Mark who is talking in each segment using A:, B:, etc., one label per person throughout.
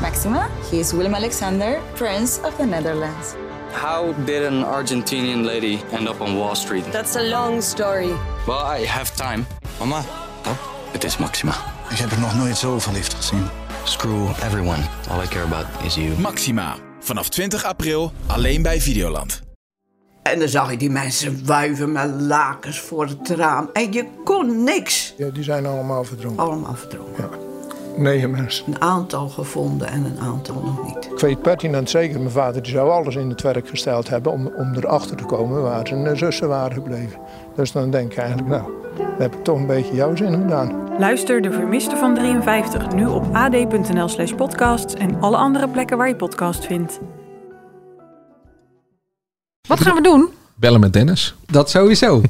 A: Maxima. He is Willem Alexander, Prince of the Netherlands.
B: How did an Argentinian lady end up on Wall Street?
C: That's a long story.
B: Well, I have time.
D: Mama,
B: Het is Maxima.
E: Ik heb er nog nooit zo verliefd gezien.
B: Screw everyone. All I care about is you.
F: Maxima. Vanaf 20 april alleen bij Videoland.
G: En dan zag je die mensen wuiven met lakens voor het raam. En je kon niks.
H: Ja, die zijn allemaal verdronken.
G: Allemaal verdrongen.
H: Ja. Negen mensen.
G: Een aantal gevonden en een aantal nog niet.
H: Ik weet pertinent zeker, mijn vader die zou alles in het werk gesteld hebben om, om erachter te komen waar zijn eh, zussen waren gebleven. Dus dan denk je eigenlijk, nou, dan heb ik toch een beetje jouw zin gedaan.
I: Luister De Vermiste van 53 nu op ad.nl slash podcasts en alle andere plekken waar je podcast vindt.
J: Wat gaan we doen?
K: Bellen met Dennis.
J: Dat sowieso.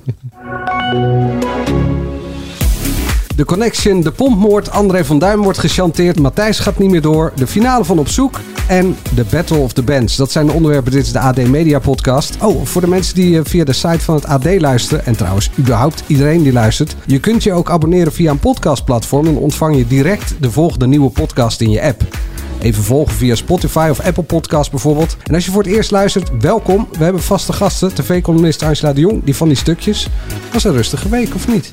J: De Connection, de pompmoord, André van Duin wordt gechanteerd, Matthijs gaat niet meer door, de finale van Op Zoek en de Battle of the Bands. Dat zijn de onderwerpen, dit is de AD Media Podcast. Oh, voor de mensen die eh, via de site van het AD luisteren, en trouwens überhaupt iedereen die luistert, je kunt je ook abonneren via een podcastplatform en ontvang je direct de volgende nieuwe podcast in je app. Even volgen via Spotify of Apple Podcasts bijvoorbeeld. En als je voor het eerst luistert, welkom. We hebben vaste gasten. TV-columnist Angela de Jong, die van die stukjes. Was een rustige week, of niet?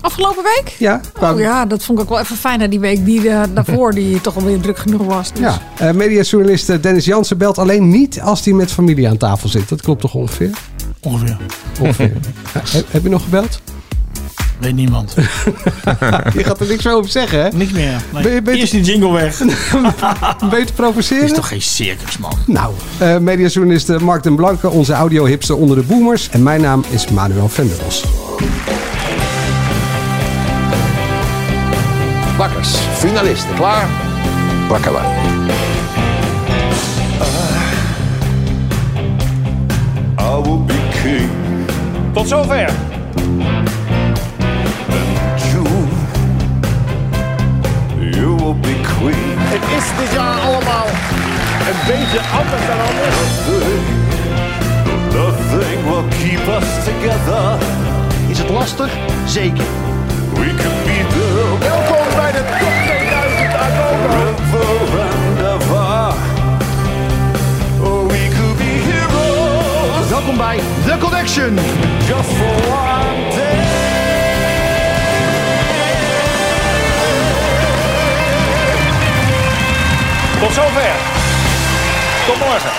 K: Afgelopen week?
J: Ja, qua-
K: Oh ja, dat vond ik ook wel even fijn. hè, Die week die eh, daarvoor die toch alweer druk genoeg was. Dus.
J: ja. Eh, mediajournalist eh, Dennis Jansen belt alleen niet als hij met familie aan tafel zit. Dat klopt toch ongeveer?
L: Ongeveer.
J: Ongeveer. Ja, he- heb je nog gebeld?
L: Weet niemand.
J: Je gaat er niks meer over zeggen, hè?
L: Niks meer. Nee.
J: Ben je- ben je-
L: Eerst die jingle weg.
J: Beter provoceren?
L: is toch geen circus, man.
J: Nou, eh mediajournalist eh, Mark den Blanke, onze audiohipster onder de boomers. En mijn naam is Manuel Venderbos.
M: Bakkers, finalisten, klaar? Bakken wij.
L: Tot zover.
N: Het is dit jaar allemaal een beetje anders dan anders.
O: Nothing will keep us together. Is het lastig? Zeker. We can be the
N: Welkom bij de top 2000 Agogo.
O: river and ever. Or we could be heroes. Welkom bij The Connection. Just for one day.
L: Tot zover. Tot morgen.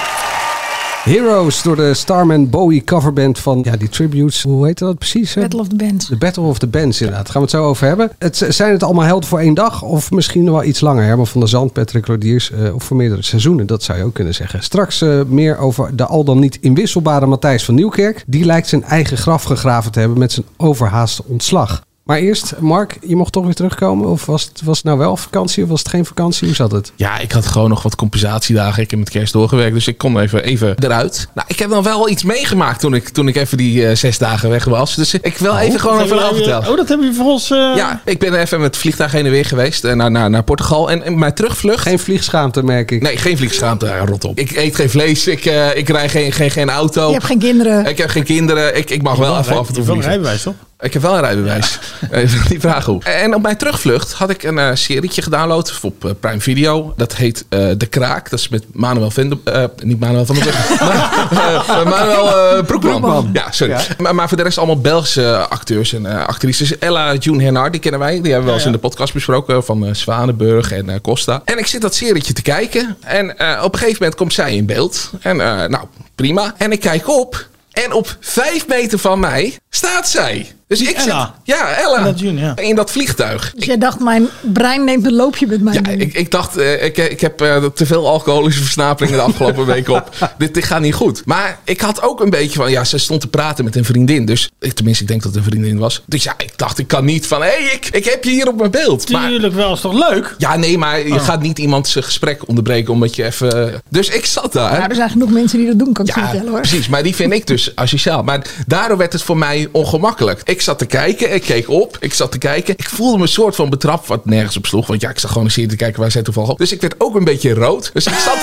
J: Heroes door de Starman Bowie coverband van ja, die tributes. Hoe heet dat precies? hè?
K: Battle of the Bands.
J: De Battle of the Bands, inderdaad. Gaan we het zo over hebben. Het, zijn het allemaal helden voor één dag? Of misschien wel iets langer? Herman van der Zand, Patrick Lodiers. eh, of voor meerdere seizoenen, dat zou je ook kunnen zeggen. Straks eh, meer over de al dan niet inwisselbare Matthijs van Nieuwkerk. Die lijkt zijn eigen graf gegraven te hebben met zijn overhaaste ontslag. Maar eerst, Mark, je mocht toch weer terugkomen? Of was het, was het nou wel vakantie of was het geen vakantie? Hoe zat het?
P: Ja, ik had gewoon nog wat compensatiedagen. Ik heb met kerst doorgewerkt, dus ik kon even, even eruit. Nou, ik heb dan wel iets meegemaakt toen ik, toen ik even die eh, zes dagen weg was. Dus ik wil even gewoon
L: Hebben
P: even
L: wij,
P: verhaal
L: eh,
P: vertellen.
L: Oh, dat hebben we voor ons... eh,
P: Ja, ik ben even met het vliegtuig heen en weer geweest eh, naar, naar, naar Portugal. En, en mijn terugvlucht...
J: Geen vliegschaamte, merk ik.
P: Nee, geen vliegschaamte. Ja, rot op. Ik eet geen vlees. Ik, eh, ik rij geen, geen, geen auto.
K: Je hebt geen kinderen.
P: Ik heb geen kinderen. Ik, ik mag wel even af
L: Je
P: en toe
L: hebt wel een
P: vliegen.
L: rijbewijs, toch?
P: Ik heb wel een rijbewijs. Even Eh, die vraag hoe. En op mijn terugvlucht had ik een eh, serietje gedownload op eh, Prime Video. Dat heet eh, De Kraak. Dat is met Manuel van de... eh, niet Manuel van der Brug. maar, eh, Manuel eh, Broekman.
L: Broekman.
P: Ja, sorry. Maar, maar voor de rest allemaal Belgische acteurs en eh, actrices. Ella June Hernard, die kennen wij. Die hebben we wel eens in de podcast besproken. Van eh, Zwanenburg en eh, Costa. En ik zit dat serietje te kijken. En eh, op een gegeven moment komt zij in beeld. En eh, nou, prima. En ik kijk op. En op vijf meter van mij staat zij. Dus ik
L: Ella.
P: zit... Ja, Ella.
L: Ella June, ja.
P: In dat vliegtuig.
K: Dus jij dacht, mijn brein neemt een loopje met mij.
P: Ja, ik, ik dacht, eh, ik, ik heb eh, te veel alcoholische versnaperingen de afgelopen week op. Dit, dit gaat niet goed. Maar ik had ook een beetje van, ja, ze stond te praten met een vriendin. Dus, ik- tenminste, ik denk dat het een vriendin was. Dus ja, ik dacht, ik kan niet van, hé, hey, ik, ik heb je hier op mijn beeld. Maar,
L: Tuurlijk wel, is toch leuk?
P: ja, nee, maar je
L: Oh.
P: gaat niet iemand zijn gesprek onderbreken omdat je even... Dus ik zat daar.
K: Nou, er zijn genoeg mensen die dat doen, kan ik je vertellen hoor.
P: Precies, maar die vind ik dus asociaal. Maar daardoor werd het voor mij mij ongemakkelijk. Ik zat te kijken, ik keek op, ik zat te kijken. Ik voelde me een soort van betrapt, wat nergens op sloeg. Want ja, ik zat gewoon een serie te kijken waar zij toevallig op. Dus ik werd ook een beetje rood. Dus ik zat,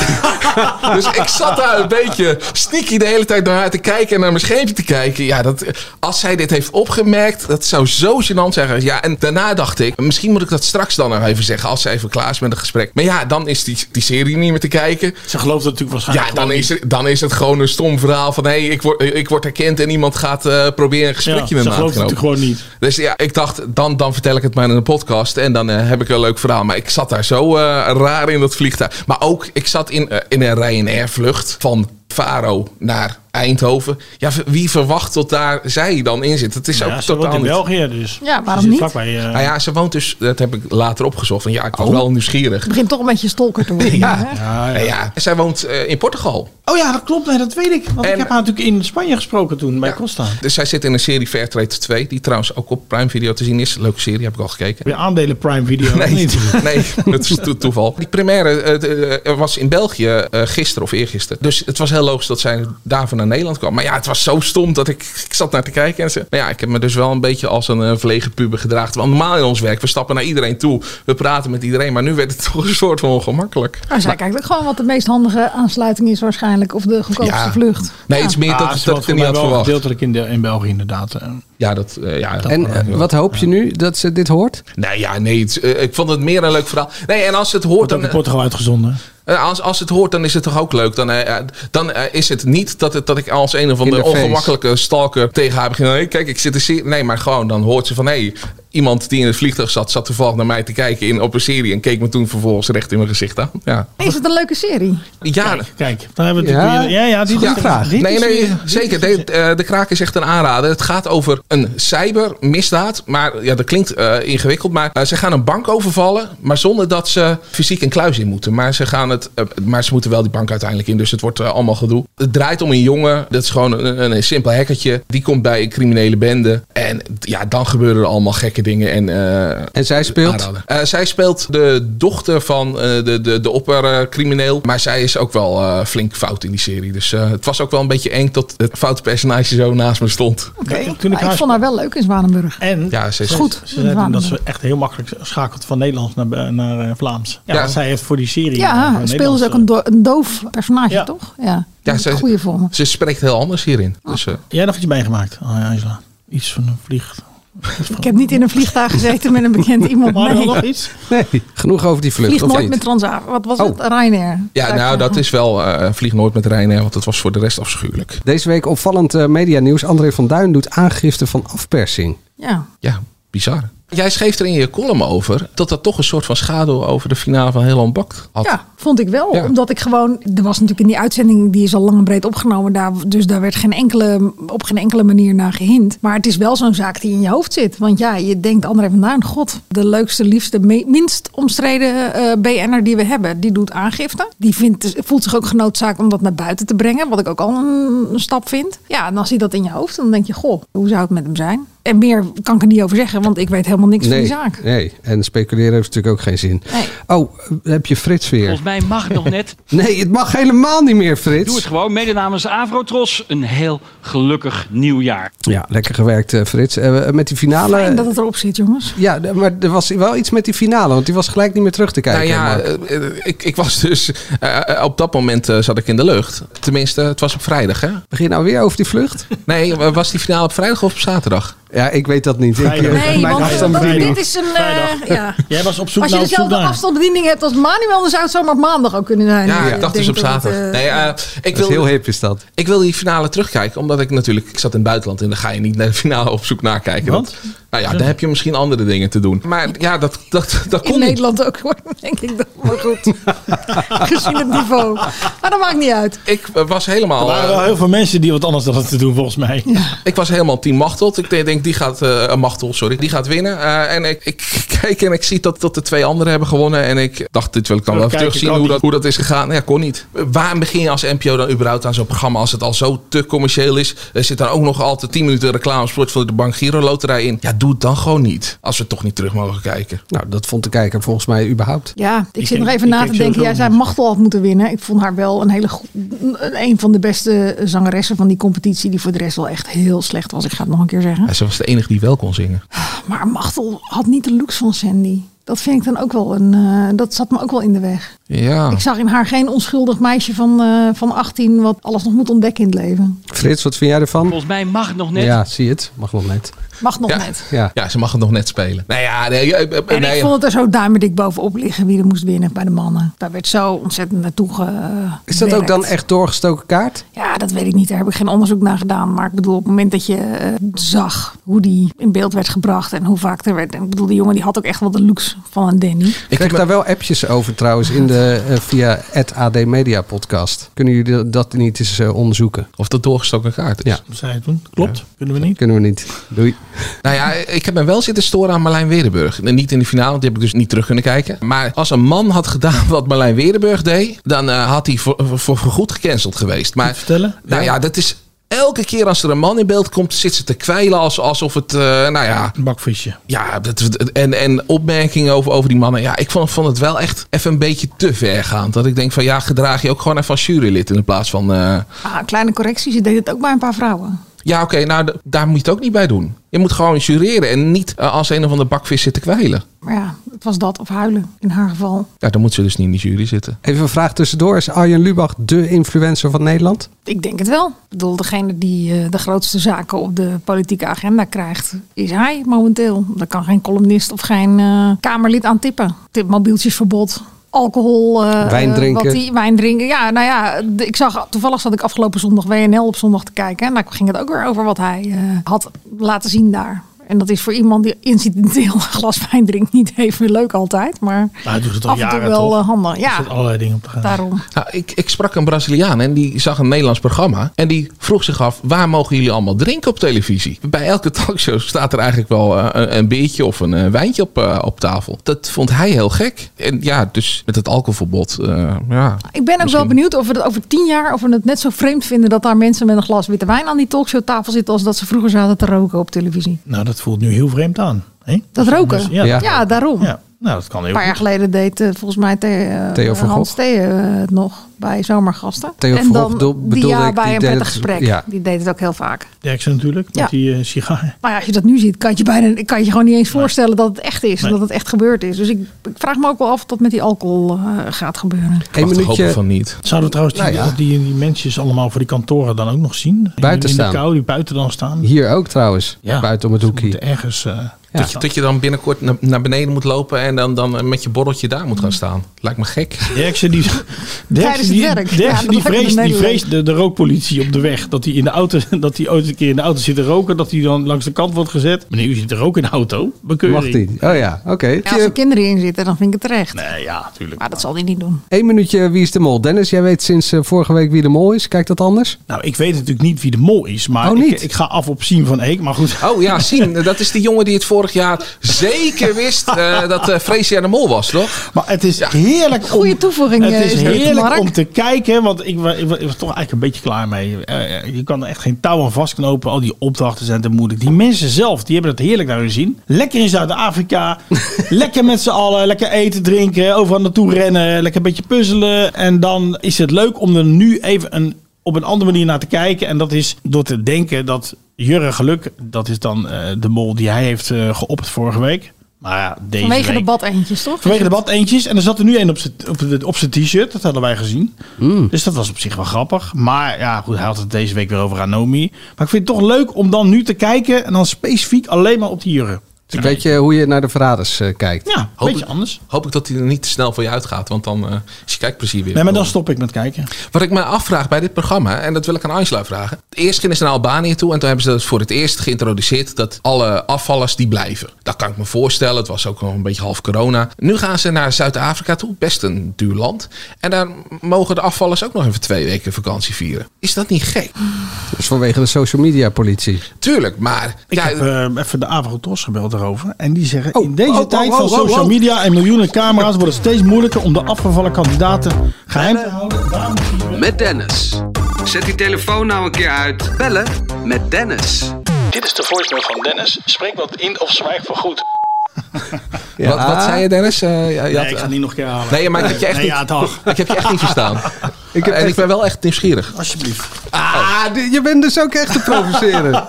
P: dus ik zat daar een beetje sneaky de hele tijd naar haar te kijken en naar mijn scheepje te kijken. Ja, dat, als zij dit heeft opgemerkt, dat zou zo gênant zijn. geweest. Ja, en daarna dacht ik, misschien moet ik dat straks dan nog even zeggen als zij even klaar is met het gesprek. Maar ja, dan is die, die serie niet meer te kijken.
L: Ze gelooft het natuurlijk waarschijnlijk
P: Ja, dan
L: gewoon
P: is, het- dan is het gewoon een stom verhaal van hé, hey, ik, word, ik word herkend en iemand gaat eh, proberen
L: Ja,
P: een gesprekje
L: ze
P: met me aan te
L: gelooft het
P: knopen.
L: gewoon niet.
P: Dus ja, ik dacht, dan, dan vertel ik het maar in een podcast en dan eh, heb ik een leuk verhaal. Maar ik zat daar zo eh, raar in dat vliegtuig. Maar ook, ik zat in, eh, in een Ryanair-vlucht van Faro naar Eindhoven. Ja, v- wie verwacht tot daar zij dan in zit? Het is
L: Nou
P: ook
L: ja, ze
P: totaal
L: woont in
P: niet-
L: België, dus.
K: Ja,
L: Ze
K: waarom
L: zit
K: niet?
L: vlakbij, eh,
P: Nou ja, ze woont dus, dat heb ik later opgezocht. En ja, ik was
L: Oh.
P: wel nieuwsgierig.
K: Het begint toch een beetje stalker te worden.
P: Ja.
K: hè?
P: Ah, Ja, Zij woont eh, in Portugal.
L: Oh ja, dat klopt. Nee, dat weet ik. Want ik heb haar natuurlijk in Spanje gesproken toen, bij Costa.
P: Dus zij zit in een serie Fairtrade 2, die trouwens ook op Prime Video te zien is. Leuke serie, heb ik al gekeken.
L: Weer aandelen Prime Video.
P: Nee,
L: of niet?
P: nee, dat is to- toeval. Die première eh, de- eh, was in België eh, gisteren of eergisteren. Dus het was heel logisch dat zij daarvan naar Nederland kwam. Maar ja, het was zo stom dat ik, ik zat naar te kijken. En ze, nou ja, ik heb me dus wel een beetje als een eh, verlegen puber gedraagd. Want normaal in ons werk, we stappen naar iedereen toe. We praten met iedereen. Maar nu werd het toch een soort van ongemakkelijk.
K: Maar Nou, zij kijkt ook gewoon wat de meest handige aansluiting is waarschijnlijk. Of de goedkoopste
P: Ja.
K: vlucht.
P: Nee, het is meer
L: Ah,
P: dat-
L: ze
P: dat,
L: woont
P: ik er niet
L: voor
P: had
L: mij wel
P: verwacht.
L: Gedeeltelijk in, de, in België, inderdaad. eh.
P: Ja, dat... eh, ja, dat
J: En eh, wat hoop je nu dat ze dit hoort?
P: Nee, ja, nee. het- eh, ik vond het meer een leuk verhaal. Nee, en als het hoort...
L: Wordt ook
P: Dan,
L: in Portugal uitgezonden.
P: eh, als, als het hoort, dan is het toch ook leuk. Dan, eh, eh, dan eh, is het niet dat, het, dat ik als een of andere
L: Interface.
P: ongemakkelijke stalker tegen haar begin. Hey, kijk, ik zit er serie. Nee, maar gewoon dan hoort ze van hé, hey, iemand die in het vliegtuig zat, zat toevallig naar mij te kijken in, op een serie. En keek me toen vervolgens recht in mijn gezicht aan. Ja,
K: Is het een leuke serie?
P: ja
L: Kijk, dan hebben we natuurlijk weer- ja, ja, die die- die-
P: Nee,
L: die-
P: nee,
L: die-
P: zeker. De, eh, de Kraak is echt een aanrader. Het gaat over een cybermisdaad. Maar ja, dat klinkt eh, ingewikkeld. Maar eh, ze gaan een bank overvallen. Maar zonder dat ze fysiek een kluis in moeten. Maar ze, gaan het, eh, maar ze moeten wel die bank uiteindelijk in. Dus het wordt eh, allemaal gedoe. Het draait om een jongen. Dat is gewoon een, een, een simpel hackertje. Die komt bij een criminele bende. En ja, dan gebeuren er allemaal gekke dingen. En,
J: en zij speelt?
P: eh, zij speelt de dochter van eh, de, de, de oppercrimineel. Maar zij is ook wel eh, flink fout in die serie. Dus eh, het was ook wel een beetje eng dat het foute personage zo naast me stond.
L: Toen ik
K: Maar ik
L: haar
K: vond haar wel leuk in Zwanenburg.
L: En
P: Ja, ze is
L: ze-
K: goed.
L: Ze zei toen dat ze echt heel makkelijk schakelt van Nederlands naar, naar eh, Vlaams. Ja,
P: Ja.
L: want zij heeft voor die serie. eh,
K: Ja, speelde
L: Nederlands,
K: ze ook een, do- een doof personage, toch? Ja,
P: Ja,
K: ja
P: ze-
K: ze, goede vorm. Oh,
P: Ze spreekt heel anders hierin. Dus, eh,
L: eh, Jij nog iets meegemaakt, eh, Angela? Iets van een vlieg.
K: Ik heb niet in een vliegtuig gezeten met een bekend iemand.
L: Maar
K: Nee.
L: nog iets?
J: Nee, genoeg over die vlucht.
K: Vlieg
P: of
K: nooit
P: niet?
K: met Transavia. Wat was
P: Oh.
K: het? Ryanair.
P: ja, nou dat is wel eh, vlieg nooit met Ryanair, want dat was voor de rest afschuwelijk.
J: Deze week opvallend media medianieuws. André van Duin doet aangifte van afpersing.
K: Ja.
P: Ja, bizar. Jij schreef er in je column over dat dat toch een soort van schaduw over de finale van Heel Bakt had.
K: Ja, vond ik wel. Omdat ik gewoon. Er was natuurlijk in die uitzending, die is al lang en breed opgenomen. Daar, dus daar werd geen enkele, op geen enkele manier naar gehind. Maar het is wel zo'n zaak die in je hoofd zit. Want ja, je denkt André van Duin, god, de leukste, liefste, me- minst omstreden eh BN'er die we hebben. Die doet aangifte. Die vindt, voelt zich ook genoodzaakt om dat naar buiten te brengen. Wat ik ook al een, een stap vind. Ja, en dan zit dat in je hoofd. Dan denk je, goh, hoe zou het met hem zijn? En meer kan ik er niet over zeggen, want ik weet helemaal niks van
J: nee,
K: die zaak.
J: nee, en speculeren heeft natuurlijk ook geen zin. Oh, heb je Frits weer?
C: Volgens mij mag nog net.
J: Nee, het mag helemaal niet meer,
C: Doe het
J: Frits.
C: gewoon. Mede namens Avrotros een heel gelukkig nieuwjaar.
J: Ja, lekker gewerkt, eh, Frits. Eh, met die finale.
K: Fijn dat het erop zit, jongens.
J: Ja, d- maar er was wel iets met die finale, want die was gelijk niet meer terug te kijken.
P: nou ja,
J: Mark.
P: eh, eh, ik, ik was dus. eh, eh, op dat moment eh, zat ik in de lucht. Tenminste, het was op vrijdag, hè?
J: Begin nou weer over die vlucht?
P: Nee, wa- was die finale op vrijdag of op zaterdag?
J: Ja, ik weet dat niet. Ik,
P: Vrijdag.
J: eh,
K: Nee,
J: mijn
K: want dat-
J: afstandsbediening.
K: dit is een. eh, ja.
L: Jij was op zoek
K: Als je
L: naar op zoek
P: nou,
K: dezelfde
L: naar.
K: afstandsbediening hebt als Manuel, dan zou het zomaar op maandag ook kunnen zijn.
P: Ja, ik
K: Ik
P: dacht dus
K: denk
P: op
K: dat het,
P: zaterdag.
K: eh,
P: nee, eh, ik
J: Dat is
P: wil,
J: heel hip is dat.
P: Ik wil die finale terugkijken, omdat ik natuurlijk. Ik zat in het buitenland en dan ga je niet naar de finale op zoek naar kijken.
L: Want?
P: Nou ja, dan heb je misschien andere dingen te doen. Maar ja, dat, dat, dat
K: in
P: kon niet.
K: Nederland ook hoor, denk ik. dat- Maar goed, gezien het niveau. Maar dat maakt niet uit.
P: Ik eh, was helemaal.
L: Er waren wel
P: eh,
L: heel veel mensen die wat anders hadden te doen, volgens mij.
P: Ik was helemaal team Machteld. Ik de- denk, die gaat, eh Machtel, sorry, die gaat winnen. Eh, en ik, ik kijk en ik zie dat, dat de twee anderen hebben gewonnen. En ik dacht, dit wil ik dan wel
L: Wil
P: even
L: kijken,
P: terugzien
L: kan
P: hoe
L: niet.
P: dat, hoe dat is gegaan. Nou Ja, kon niet. Waarom begin je als NPO dan überhaupt aan zo'n programma als het al zo te commercieel is? Er zit dan ook nog altijd 10 minuten reclamesport voor de Bank Giro Loterij in. Ja, doe het dan gewoon niet. Als we toch niet terug mogen kijken.
J: Nou, dat vond de kijker volgens mij überhaupt.
K: Ja, ik,
P: Ik
K: zit nog
P: denk-
K: even
P: ik
K: na
P: denk
K: te denken.
P: sowieso
K: Jij zei Machtel had moeten winnen. Ik vond haar wel een hele go- een van de beste eh, zangeressen van die competitie. Die voor de rest wel echt heel slecht was. Ik ga het nog een keer zeggen.
P: Ja, ze was de enige die wel kon zingen.
K: Maar Machtel had niet de looks van Sandy. Dat vind ik dan ook wel een. eh, dat zat me ook wel in de weg.
P: Ja.
K: Ik zag in haar geen onschuldig meisje van, eh, van 18 wat alles nog moet ontdekken in het leven.
J: Frits, wat vind jij ervan?
C: Volgens mij mag het nog net.
J: Ja, zie je het? Mag nog net.
K: Mag nog
P: Ja.
K: net.
J: Ja.
P: Ja, ze mag het nog net spelen. Nou ja, nee, ja, eh, eh,
K: En
P: nee.
K: ik vond het er zo duimendik bovenop liggen wie er moest winnen bij de mannen. Daar werd zo ontzettend naartoe ge.
J: Is dat ook
K: werkt.
J: dan echt doorgestoken kaart?
K: Ja, dat weet ik niet. Daar heb ik geen onderzoek naar gedaan. Maar ik bedoel, op het moment dat je eh, zag hoe die in beeld werd gebracht en hoe vaak er werd. en Ik bedoel, die jongen die had ook echt wel de looks van een Danny.
J: Ik kreeg daar wel appjes over trouwens in de, eh, via het AD Media podcast. Kunnen jullie dat niet eens eh, onderzoeken?
P: Of dat doorgestoken kaart is?
J: Ja.
L: Zij het doen. Klopt. Kunnen we niet.
J: Kunnen we niet. Doei.
P: Nou ja, ik heb me wel zitten storen aan Marlijn Weerdenburg. En Niet in de finale, want die heb ik dus niet terug kunnen kijken. Maar als een man had gedaan wat Marlijn Weerdenburg deed, dan eh, had hij voor, voor, voor goed gecanceld geweest. Maar,
L: vertellen?
P: Nou ja, dat is elke keer als er een man in beeld komt, zit ze te kwijlen als, alsof het, eh, nou ja...
L: Een bakvisje.
P: Ja, dat, en, en opmerkingen over, over die mannen. Ja, ik vond, vond het wel echt even een beetje te ver gaan. Dat ik denk van ja, gedraag je ook gewoon even als jurylid in plaats van... eh,
K: Ah, kleine correcties. Je deed het ook bij een paar vrouwen.
P: ja, oké, nou d- daar moet je het ook niet bij doen. Je moet gewoon jureren en niet eh, als een of ander bakvis zitten kwijlen.
K: Maar ja, het was dat of huilen in haar geval.
P: Ja, dan moet ze dus niet in de jury zitten.
J: Even een vraag tussendoor. Is Arjen Lubach de influencer van Nederland?
K: Ik denk het wel. Ik bedoel, degene die eh, de grootste zaken op de politieke agenda krijgt, is hij momenteel. Daar kan geen columnist of geen eh, Kamerlid aan tippen. Tip mobieltjesverbod. Alcohol, eh,
J: Wijn
K: eh,
J: drinken.
K: wat die, wijn drinken. Ja, nou ja, d- ik zag toevallig zat ik afgelopen zondag WNL op zondag te kijken. En daar ging het ook weer over wat hij eh, had laten zien daar. En dat is voor iemand die incidenteel een glas wijn drinkt niet even leuk altijd. Maar
L: Nou, hij doet het al
K: af en toe
L: jaren
K: wel
L: toch?
K: eh, handig.
L: Er
K: Ja,
L: zitten allerlei dingen op te gaan.
K: daarom.
P: Nou, ik, ik sprak een Braziliaan en die zag een Nederlands programma. En die vroeg zich af, waar mogen jullie allemaal drinken op televisie? Bij elke talkshow staat er eigenlijk wel eh, een, een biertje of een eh, wijntje op, eh, op tafel. Dat vond hij heel gek. En ja, dus met het alcoholverbod, eh, ja.
K: Ik ben ook wel benieuwd of we dat over tien jaar of we het net zo vreemd vinden dat daar mensen met een glas witte wijn aan die talkshowtafel zitten als dat ze vroeger zaten te roken op televisie.
L: Nou, dat voelt nu heel vreemd aan. Hè?
K: Dat roken?
L: Dus,
K: Eh, ja. daarom.
L: Ja. Nou, dat kan
K: Een
L: heel
K: paar jaar
L: goed.
K: geleden deed eh, volgens mij The- eh,
J: Theo van
K: Hans
J: Gogh.
K: Theo eh, het nog bij Zomergasten.
J: Theo
K: en
J: van
K: dan
J: Gogh bedoel-
K: die-
J: bedoelde
K: ja,
J: ik,
K: bij
J: die
K: een
J: deed
K: prettig
J: het- dus-
K: gesprek.
J: ja.
K: Die deed het ook heel vaak.
L: Derksen natuurlijk, met
K: Ja.
L: die eh, sigaar.
K: Maar ja, als je dat nu ziet, kan het je, bijna, kan het je gewoon niet eens voorstellen dat het echt is. en
L: Nee.
K: Dat het echt gebeurd is. Dus ik, ik vraag me ook wel af of dat met die alcohol eh, gaat gebeuren.
J: Eén minuutje.
P: van niet.
L: Zouden we trouwens die,
J: Nou ja.
L: die, die mensjes allemaal voor die kantoren dan ook nog zien? In-
J: Buiten
L: in,
J: staan.
L: de kou, die buiten dan staan.
J: Hier ook trouwens.
L: Ja.
J: Buiten om het hoekje.
L: Ergens. eh,
P: Dat, je, dat je dan binnenkort na- naar beneden moet lopen en dan, dan met je borreltje daar moet gaan staan. Lijkt me gek.
L: Derksen die, Derksen
K: het
L: die,
K: werk.
L: Derksen
K: Ja, dat
L: die
K: lijkt me
L: vreest, die
K: Nederland.
L: vreest de, de rookpolitie op de weg. Dat hij in de auto, dat hij ooit een keer in de auto zit te roken. Dat hij dan langs de kant wordt gezet. Meneer, u zit er ook in de auto. Bekeuring.
J: Mag niet. Oh ja, oké.
K: Ja, als er kinderen in zitten, dan vind ik het terecht.
L: Nee, ja, natuurlijk.
K: Maar dat zal die niet doen.
J: Eén minuutje. Wie is de mol? Dennis, jij weet sinds eh, vorige week wie de mol is. Kijkt dat anders?
L: Nou, ik weet natuurlijk niet wie de mol is. Maar
J: Oh,
L: ik,
J: niet?
L: ik ga af op Sien van Eek. Maar goed.
P: Oh ja, zien. Dat is die jongen die het vorig jaar zeker wist eh, dat eh Freesia de Mol was, toch?
L: Maar het is heerlijk om...
K: Goede toevoeging
L: Het
K: eh,
L: is
K: dit, Mark.
L: heerlijk om te kijken, want ik, wa- ik, wa- ik was toch eigenlijk een beetje klaar mee. Eh, eh, Je kan er echt geen touw aan vastknopen. Al die opdrachten zijn te moeilijk. Die mensen zelf, die hebben het heerlijk naar hun zin. Lekker in Zuid-Afrika. lekker met z'n allen. Lekker eten, drinken. Overal naartoe rennen. Lekker een beetje puzzelen. En dan is het leuk om er nu even een, op een andere manier naar te kijken. En dat is door te denken dat Jurre Geluk, dat is dan eh, de mol die hij heeft eh geopperd vorige week. Maar ja, deze
K: Vanwege de
L: week-
K: badeentjes, toch?
L: Vanwege de bad eentjes. En er zat er nu één op zijn op de- op zijn t-shirt. Dat hadden wij gezien.
J: Hmm.
L: Dus dat was op zich wel grappig. Maar ja, goed, hij had het deze week weer over Anomi. Maar ik vind het toch leuk om dan nu te kijken. En dan specifiek alleen maar op die jurren.
J: Ik weet je hoe je naar de verraders eh, kijkt.
L: Ja, een beetje anders.
P: Hoop ik dat hij er niet te snel voor je uitgaat, want dan eh, is je kijkplezier weer.
L: Nee, maar dan stop ik met kijken.
P: Wat ik me afvraag bij dit programma, en dat wil ik aan Angela vragen. Eerst gingen ze naar Albanië toe en toen hebben ze dat voor het eerst geïntroduceerd dat alle afvallers die blijven. Dat kan ik me voorstellen, het was ook nog een beetje half corona. Nu gaan ze naar Zuid-Afrika toe, best een duur land. En daar mogen de afvallers ook nog even twee weken vakantie vieren. Is dat niet gek?
J: Dat is vanwege de social media politie.
P: Tuurlijk, maar...
L: Ik
P: ja,
L: heb eh, even de Avrotros gebeld daarover. En die zeggen, in
P: oh,
L: deze
P: oh,
L: tijd
P: oh,
L: van
P: oh,
L: social
P: oh.
L: media en miljoenen camera's... wordt het steeds moeilijker om de afgevallen kandidaten geheim te houden.
D: Met Dennis. Zet die telefoon nou een keer uit. Bellen met Dennis.
L: Dit is de voicemail van Dennis. Spreek wat in of zwijg voor goed.
P: Wat, wat zei je, Dennis? Eh, je- je
L: Nee,
P: had-
L: ik ga het niet nog een keer halen.
P: Nee, maar ik heb je echt,
L: Nee,
P: niet,
L: ja, toch.
P: ik heb je echt niet verstaan. ik en ik ben wel echt nieuwsgierig.
L: Alsjeblieft.
J: Ah, di- je bent dus ook echt te provoceren.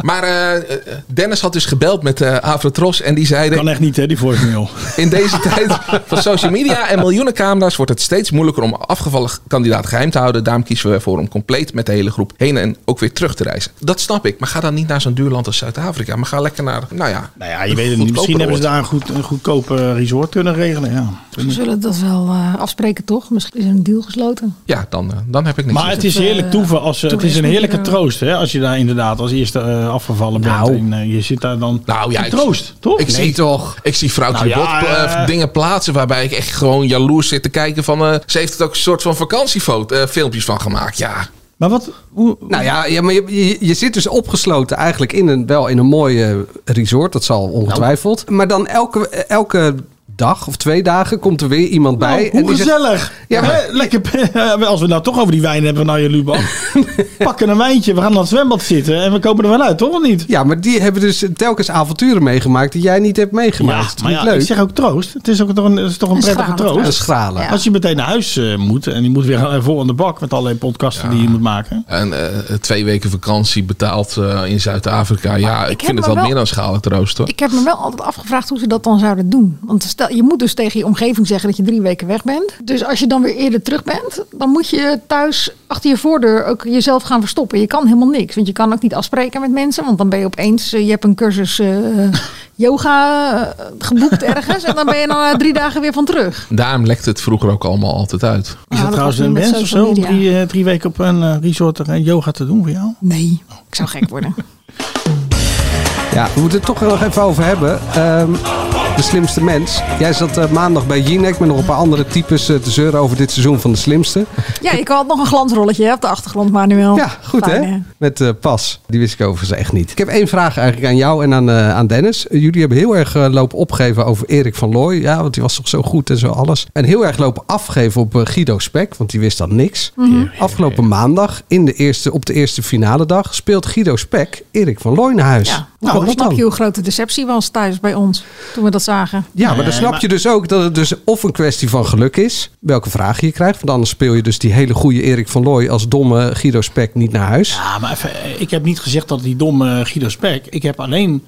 P: Maar eh, Dennis had dus gebeld met eh Avrotros en die zeiden...
L: Kan echt niet, hè, die voicemail.
P: In deze tijd van social media en miljoenen camera's wordt het steeds moeilijker om afgevallen kandidaten geheim te houden. Daarom kiezen we ervoor om compleet met de hele groep heen en ook weer terug te reizen. Dat snap ik, maar ga dan niet naar zo'n duur land als Zuid-Afrika. Maar ga lekker naar, nou ja...
L: Nou ja, je weet het niet. Misschien hebben ze daar een, goed, een goedkoop eh, resort kunnen regelen. Ja.
K: We zullen dat wel eh, afspreken, toch? Misschien is er een deal gesloten.
P: Ja, dan, eh, dan heb ik niks
L: Maar
P: met
L: het is
K: eh,
L: heerlijk toeven. Als, eh, het is een
K: toerisme
L: heerlijke
K: hier, eh. Nou.
L: troost hè, als je daar inderdaad als eerste eh, afgevallen bent. En, eh, je zit daar dan.
P: Nou ja,
L: Een
P: ik-
L: troost, toch?
P: Ik
L: Nee,
P: zie toch. Ik zie vrouwtje
L: Nou ja,
P: Bot, eh,
L: eh,
P: dingen plaatsen waarbij ik echt gewoon jaloers zit te kijken van. eh, ze heeft er ook een soort van vakantiefilmpjes van gemaakt. Ja.
L: Maar wat? Hoe,
J: Nou ja, ja maar je, je, je zit dus opgesloten eigenlijk in een, wel in een mooie resort. Dat zal ongetwijfeld. Maar dan elke, elke dag of twee dagen komt er weer iemand bij.
L: nou, hoe
J: die zegt-
L: gezellig.
J: Ja, maar-
L: Hè, lekker, als we nou toch over die wijn hebben, nou je Lubach. pakken een wijntje, we gaan naar het zwembad zitten en we komen er wel uit, toch of niet?
J: ja, maar die hebben dus telkens avonturen meegemaakt die jij niet hebt meegemaakt. Dat is
L: maar
J: niet
L: ja,
J: leuk.
L: ik zeg ook troost. Het is, ook toch een, het is toch een,
J: Een
L: prettige
J: schrale
L: troost.
J: troost. Een schrale. Ja.
L: Als je meteen naar huis eh, moet en je moet weer eh, vol aan de bak met allerlei podcasten die je moet maken.
P: En eh, twee weken vakantie betaald eh, in Zuid-Afrika. Ja, ik,
K: ik
P: vind
K: heb
P: het
K: me
P: wel,
K: wel-
P: meer dan schalig troost hoor.
K: Ik heb me wel altijd afgevraagd hoe ze dat dan zouden doen. Want stel, je moet dus tegen je omgeving zeggen dat je drie weken weg bent. Dus als je dan weer eerder terug bent, dan moet je thuis achter je voordeur ook jezelf gaan verstoppen. Je kan helemaal niks. Want je kan ook niet afspreken met mensen. Want dan ben je opeens, eh, je hebt een cursus eh, yoga eh, geboekt ergens. En dan ben je dan eh, drie dagen weer van terug.
P: Daarom lekte het vroeger ook allemaal altijd uit.
L: Is
K: Ja,
L: dat
K: dat
L: trouwens
K: was
L: een
K: nu met
L: wens of
K: social
L: zo? om
K: media.
L: Drie, eh, drie weken op een eh, resort en yoga te doen voor jou?
K: Nee, ik zou gek worden.
J: Ja, we moeten het toch nog even over hebben. Ehm, de slimste mens. Jij zat eh, maandag bij Jinek met nog een paar andere types eh, te zeuren over dit seizoen van de slimste.
K: Ja, ik had nog een glansrolletje hè, op de achtergrond, Manuel. Ja,
J: Goed hè? Met eh, Pas. Die wist ik overigens echt niet. Ik heb één vraag eigenlijk aan jou en aan, eh, aan Dennis. Eh, Jullie hebben heel erg eh, lopen opgeven over Erik van Looy. Ja, want die was toch zo goed en zo alles. En heel erg lopen afgeven op eh, Guido Spek, want die wist dan niks. Afgelopen maandag in de eerste, op de eerste finale dag speelt Guido Spek Erik van Looy naar huis. Hoe
K: Nou,
J: komt
K: dan
J: dat
K: snap
J: dan?
K: je hoe groot de deceptie was thuis bij ons toen we dat zagen.
J: Ja, maar dan snap je dus ook dat het dus of een kwestie van geluk is. Welke vraag je krijgt. Want anders speel je dus die hele goede Erik van Looy als domme Guido Spek niet naar huis.
L: Ja, maar even, eh, ik heb niet gezegd dat die domme Guido Spek. Ik heb alleen.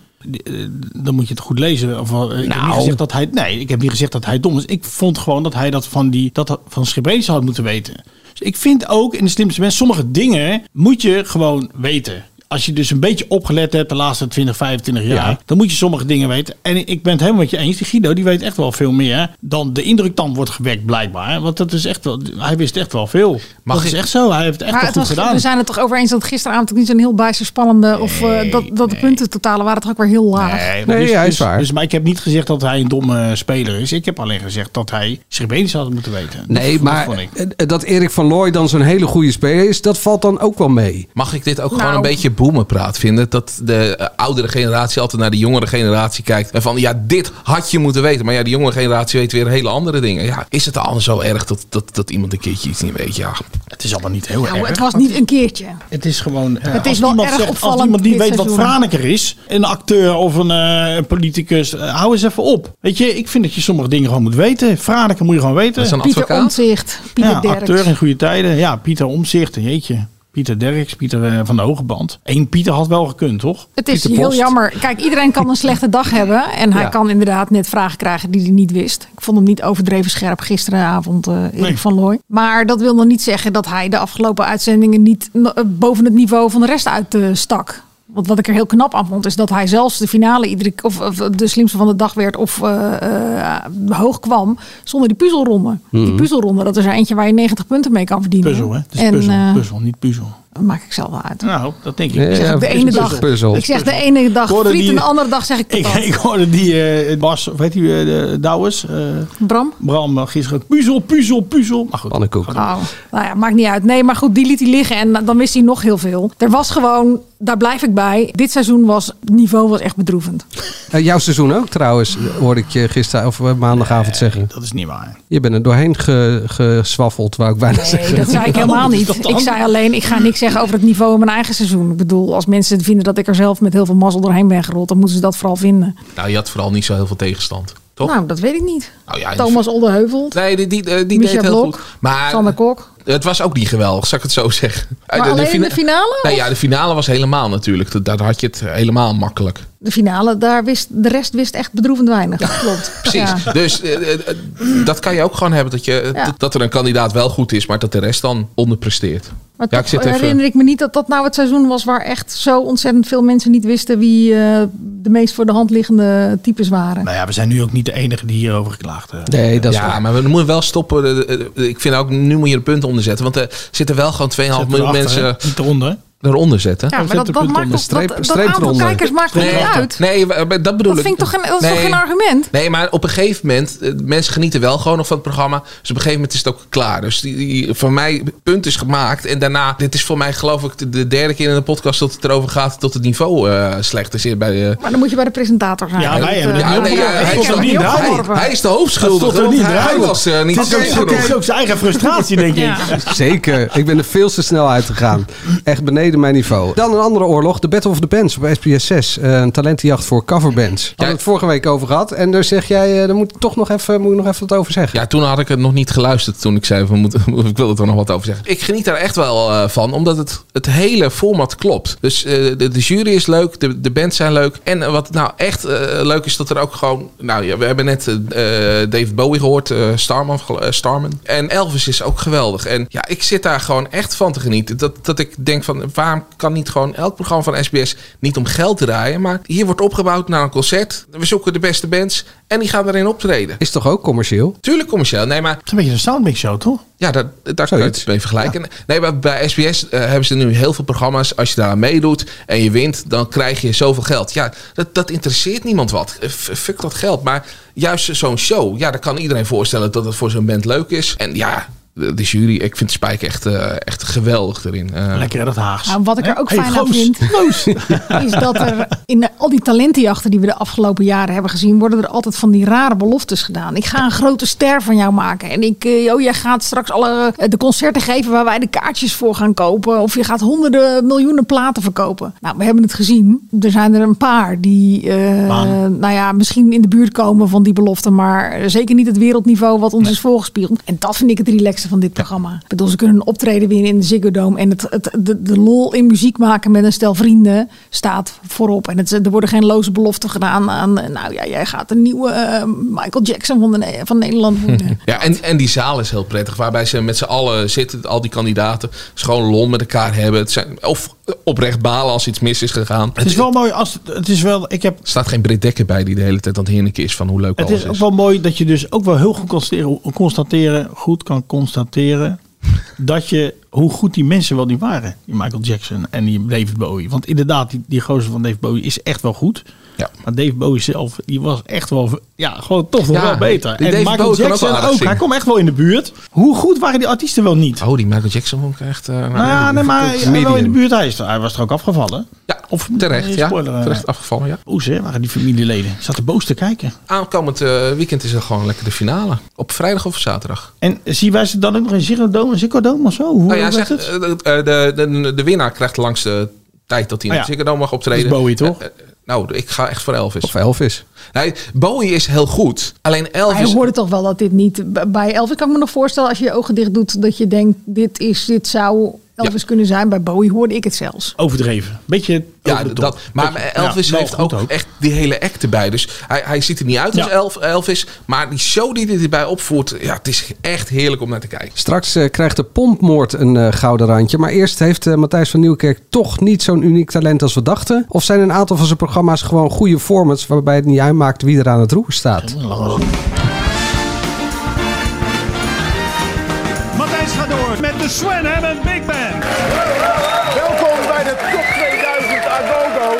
L: eh, Dan moet je het goed lezen. Of, eh, ik heb
K: Nou.
L: niet gezegd dat hij, nee, ik heb niet gezegd dat hij dom is. Ik vond gewoon dat hij dat van, die, dat van Schibrezen had moeten weten. Dus ik vind ook in de slimste mens, sommige dingen moet je gewoon weten. Als je dus een beetje opgelet hebt de laatste 20, 25 jaar, dan moet je sommige dingen weten. En ik ben het helemaal met je eens. Die Guido die weet echt wel veel meer dan de indruk dan wordt gewekt, blijkbaar. Want dat is echt wel, hij wist echt wel veel.
P: Mag
L: dat
P: ik-
L: is echt zo. Hij heeft het echt
K: Maar
L: wel
K: het
L: goed
K: was,
L: gedaan.
K: we zijn het toch over eens dat gisteravond ook niet zo'n heel bijster spannende... of eh, dat, dat de punten totalen waren toch ook weer heel laag.
L: Nee,
J: Nee,
L: dus,
J: hij is
L: dus-
J: waar.
L: Dus, maar ik heb niet gezegd dat hij een domme speler is. Ik heb alleen gezegd dat hij zich beter had moeten weten.
J: Nee,
L: dat,
J: maar
L: Dat vond ik.
J: eh, eh, dat Erik van Looy dan zo'n hele goede speler is, dat valt dan ook wel mee.
P: Mag ik dit ook
J: Nou.
P: gewoon een beetje boemenpraat vinden? Dat de eh, oudere generatie altijd naar de jongere generatie kijkt. En van ja, dit had je moeten weten. Maar ja, de jongere generatie weet weer hele andere dingen. Ja, is het dan zo erg dat, dat, dat iemand een keertje iets niet weet? Ja,
L: het is allemaal niet heel
K: Nou, het was niet een keertje.
L: Het is gewoon. eh,
K: Het is
L: als
K: wel
L: iemand
K: erg
L: Als
K: opvallend
L: iemand niet
K: dit
L: weet wat
K: seizoen.
L: Franeker is, een acteur of een eh, een politicus, eh, hou eens even op. Weet je, ik vind dat je sommige dingen gewoon moet weten. Franeker moet je gewoon weten.
K: Pieter Omtzigt, Pieter
L: ja,
K: Derks.
L: acteur in goede tijden. Ja, Pieter Omzicht, jeetje. Pieter Derks, Pieter eh, van de Hoge Band. Eén Pieter had wel gekund, toch?
K: Het is
L: Pieter
K: heel
L: Post.
K: jammer. Kijk, iedereen kan een slechte dag hebben. En hij
L: Ja.
K: kan inderdaad net vragen krijgen die hij niet wist. Ik vond hem niet overdreven scherp gisteravond, eh Erik
L: Nee.
K: van Looy. Maar dat wil nog niet zeggen dat hij de afgelopen uitzendingen niet no- eh, boven het niveau van de rest uitstak. stak. Want wat ik er heel knap aan vond, is dat hij zelfs de finale iedere k- of, of de slimste van de dag werd of eh, eh, hoog kwam zonder die puzzelronde. Die
L: Mhm.
K: puzzelronde, dat is er eentje waar je 90 punten mee kan verdienen.
L: Puzzel, hè? Het is
K: en,
L: puzzel,
K: eh,
L: puzzel, niet puzzel.
K: dat maak ik zelf wel uit.
L: Nou, dat denk ik.
K: Ik zeg ook de ene dag, ik zeg de ene dag
L: Hoorde
K: friet
L: die-
K: en de andere dag zeg ik
L: Ik,
K: patat.
L: ik hoorde die eh Bas, of weet die eh Douwers? eh,
K: Bram?
L: Bram eh, gisteren ook puzzel, puzzel, puzzel. Maar goed.
J: Pannenkoek.
K: Oh, nou ja, maakt niet uit. Nee, maar goed, die liet hij liggen en dan wist hij nog heel veel. Er was gewoon, daar blijf ik bij. Dit seizoen was, het niveau was echt bedroevend.
J: Eh, jouw seizoen ook trouwens, hoorde ik je gisteren of eh, maandagavond zeggen.
L: Dat is niet waar.
J: Je bent er doorheen ge, geswaffeld, wou ik bijna
K: Nee,
J: zeggen.
K: dat zei ik helemaal niet. Ik zei alleen, ik ga niks zeggen over het niveau in mijn eigen seizoen. Ik bedoel, als mensen het vinden dat ik er zelf met heel veel mazzel doorheen ben gerold, dan moeten ze dat vooral vinden.
P: Nou, je had vooral niet zo heel veel tegenstand. Toch?
K: Nou, dat weet ik niet.
P: Nou ja, die-
K: Thomas Oldeheuvel,
P: Nee, die, die, eh, die
K: Micha
P: deed heel
K: Blok,
P: goed. Maar
K: Sander Kok.
P: het was ook niet geweldig, zal ik het zo zeggen. Eh,
K: Maar alleen in de finale?
P: Nee, ja, de finale was helemaal natuurlijk. Da- Daar had je het helemaal makkelijk.
K: De finale, daar wist de rest wist echt bedroevend weinig. Klopt.
P: Precies.
K: Ja.
P: Dus eh, eh, eh, dat kan je ook gewoon hebben. Dat, je,
K: Ja.
P: dat- dat er een kandidaat wel goed is, maar dat de rest dan onderpresteert.
K: Maar
P: ja,
K: toch
P: ik zit
K: herinner
P: even...
K: ik me niet dat dat nou het seizoen was waar echt zo ontzettend veel mensen niet wisten wie eh, de meest voor de hand liggende types waren.
L: Nou ja, we zijn nu ook niet de enige die hierover geklaagd eh. hebben.
J: Nee, dat is
P: ja,
J: waar.
P: maar we moeten wel stoppen. Eh, eh, eh, Ik vind ook, nu moet je er punten onder zetten. Want er zitten wel gewoon 2,5
L: Zet
P: miljoen
L: erachter,
P: mensen
L: hè? Niet eronder.
P: eronder zetten.
K: Ja, maar dat, dat, maakt toch, dat, dat aantal kijkers maakt toch
P: nee,
K: niet uit?
P: Nee, maar dat bedoel ik.
K: Dat, vind ik toch geen, dat is toch
P: Nee.
K: geen argument?
P: Nee, maar op een gegeven moment, eh, mensen genieten wel gewoon nog van het programma. Dus op een gegeven moment is het ook klaar. Dus die, die- voor mij, punt is gemaakt. En daarna, dit is voor mij geloof ik de, de derde keer in de podcast dat het erover gaat dat het niveau eh, slecht is. Bij, de-
K: Maar dan moet je bij de presentator gaan.
P: Ja, wij
K: Dat,
P: hebben
K: eh,
P: het
K: nou,
P: niet
K: ja,
P: opgelost. Hij
K: ik heb
P: stond er
K: het niet
P: niet bij.
K: opgeworpen.
P: Hij is de hoofdschuldige,
L: Dat stond er
P: want
L: niet
P: hij
L: bij.
P: was, eh, niet
L: Dat is ook-
P: scherp
L: dat is
P: genoeg.
L: ook zijn eigen frustratie, denk ik.
J: Zeker. Ik ben er veel te snel uitgegaan. Echt beneden mijn niveau. Dan een andere oorlog. De Battle of the Bands op SBS 6. Eh, Een talentenjacht voor coverbands. Hadden we het vorige week over gehad. En daar zeg jij, eh, daar moet ik toch nog even, moet ik nog even wat over zeggen.
P: Ja, toen had ik het nog niet geluisterd toen ik zei, we moeten, ik wil er nog wat over zeggen. Ik geniet daar echt wel eh, van, omdat het, het hele format klopt. Dus eh, de, de jury is leuk, de, de bands zijn leuk. En eh, wat nou echt eh, leuk is, dat er ook gewoon... Nou ja, we hebben net eh, eh, Dave Bowie gehoord, eh, Starman, gel- eh, Starman. En Elvis is ook geweldig. En ja, ik zit daar gewoon echt van te genieten. Dat, dat ik denk van, waarom kan niet gewoon elk programma van SBS niet om geld draaien? Maar hier wordt opgebouwd naar een concert. We zoeken de beste bands en die gaan erin optreden.
J: Is toch ook commercieel?
P: Tuurlijk commercieel. Nee, maar... Het
L: is een beetje een soundmix show, toch?
P: Ja, daar, daar kan je het mee vergelijken. Nee, maar bij SBS eh, hebben ze nu heel veel programma's. Als je daar aan meedoet en je wint, dan krijg je zoveel geld. Ja, dat, dat interesseert niemand wat. Eh, f- Fuck dat geld. Maar juist zo'n show, ja, daar kan iedereen voorstellen dat het voor zo'n band leuk is. En ja, de, de jury, ik vind Spike echt, eh, echt geweldig erin. Eh,
L: Lekker hè, dat Haags.
K: Nou, wat ik er ook
L: Hey,
K: fijn aan
L: Goos.
K: vind, is dat er in de- al die talentenjachten die we de afgelopen jaren hebben gezien, worden er altijd van die rare beloftes gedaan. Ik ga een grote ster van jou maken. En ik, eh, oh, jij gaat straks alle eh, de concerten geven waar wij de kaartjes voor gaan kopen. Of je gaat honderden miljoenen platen verkopen. Nou, we hebben het gezien. Er zijn er een paar die, eh,
L: Baan.
K: nou ja, misschien in de buurt komen van die belofte, maar zeker niet het wereldniveau wat ons is voorgespiegeld. En dat vind ik het relaxte van dit programma. Ik bedoel, ze kunnen een optreden winnen in de Ziggo Dome en het, het, de, de lol in muziek maken met een stel vrienden staat voorop. En het, er worden geen loze beloften gedaan aan, eh, nou ja, jij gaat een nieuwe eh, Michael Jackson van, de, Ne- van Nederland worden.
P: Ja, en, en die zaal is heel prettig, waarbij ze met z'n allen zitten, al die kandidaten, dus gewoon lol met elkaar hebben. Het zijn, of oprecht balen als iets mis is gegaan.
L: Het is wel mooi als het is wel. Ik heb.
P: Er staat geen Britt Dekker bij die de hele tijd aan het hinniken is van hoe leuk
L: Het
P: alles
L: is
P: is.
L: ook wel mooi dat je dus ook wel heel goed constateren, constateren goed kan constateren dat je hoe goed die mensen wel niet waren, die Michael Jackson en die David Bowie. Want inderdaad, die, die gozer van David Bowie is echt wel goed.
P: Ja.
L: Maar David Bowie zelf, die was echt wel, ja, gewoon toch nog
P: Ja,
L: wel beter.
P: die
L: En
P: David
L: Michael
P: Bowie kan ook
L: Jackson
P: wel
L: ook,
P: aardig
L: hij
P: zingen.
L: kwam echt wel in de buurt. Hoe goed waren die artiesten wel niet?
P: Oh, die Michael Jackson vond ik echt... eh, nou,
L: Nou ja, nee, maar hij- hij wel in de
P: medium.
L: buurt. Hij, is, hij was er ook afgevallen.
P: Ja,
L: of
P: Terecht,
L: nee,
P: ja.
L: spoiler, eh.
P: Terecht afgevallen, ja.
L: Oeh, ze waren die familieleden. Ze zaten boos te kijken.
P: Aankomend eh, weekend is er gewoon lekker de finale. Op vrijdag of zaterdag.
L: En zien wij ze dan ook nog in Ziggo Dome en Ziggo Dome of zo? Hoe
P: Nou ja,
L: werkt
P: zeg,
L: het?
P: eh, eh, de, de, de winnaar krijgt langs de tijd dat hij in
L: Ah
P: het
L: ja.
P: Ziggo Dome mag optreden.
L: Dat is Bowie, toch?
P: Eh, eh, nou, ik ga echt voor Elvis. Of
J: Elvis.
P: Nee, Bowie is heel goed. Alleen
K: Hij
P: Elvis...
K: hoorde toch wel dat dit niet b- bij Elvis. Kan ik me nog voorstellen als je je ogen dicht doet dat je denkt dit is dit zou Elvis kunnen zijn. Bij Bowie hoorde ik het zelfs.
L: Overdreven. Beetje
P: Ja,
L: over de top.
P: dat, maar
L: Beetje-
P: Elvis
L: ja, wel
P: heeft
L: goed
P: ook, echt die hele act erbij. Dus hij, hij ziet er niet uit als
L: Ja.
P: Elf- Elvis. Maar die show die hij erbij opvoert, ja, het is echt heerlijk om naar te kijken.
J: Straks eh, krijgt de pompmoord een eh, gouden randje. Maar eerst heeft eh, Matthijs van Nieuwkerk toch niet zo'n uniek talent als we dachten. Of zijn een aantal van zijn programma's gewoon goede formats waarbij het niet uitmaakt wie er aan het roer staat?
N: Matthijs gaat door met de Sven Hammond Big Band. Welkom bij de top 2000 Agogo.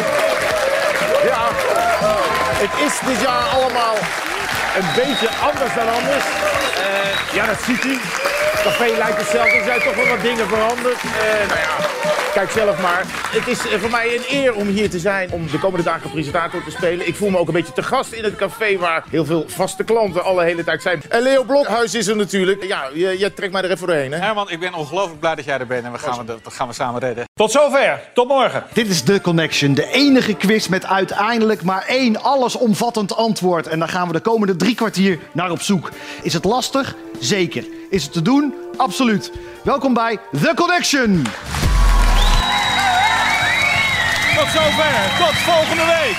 N: Ja, het is dit jaar allemaal een beetje anders dan anders. Eh, ja, dat ziet u.
D: Het café lijkt hetzelfde. Er zijn toch wel wat dingen veranderd. Eh, nou ja, kijk zelf maar. Het is eh, voor mij een eer om hier te zijn. Om de komende dagen presentator te spelen. Ik voel me ook een beetje te gast in het café waar heel veel vaste klanten alle hele tijd zijn. En Leo Blokhuis is er natuurlijk. Ja, je, je trekt mij er even doorheen. Hè?
Q: Herman, ik ben ongelooflijk blij dat jij er bent en we gaan, we, dat gaan we samen redden.
D: Tot zover. Tot morgen.
R: Dit is The Connection, de enige quiz met uiteindelijk maar één allesomvattend antwoord. En daar gaan we de komende drie kwartier naar op zoek. Is het lastig? Zeker. Is het te doen? Absoluut. Welkom bij The Connection.
D: Tot zover. Tot volgende week.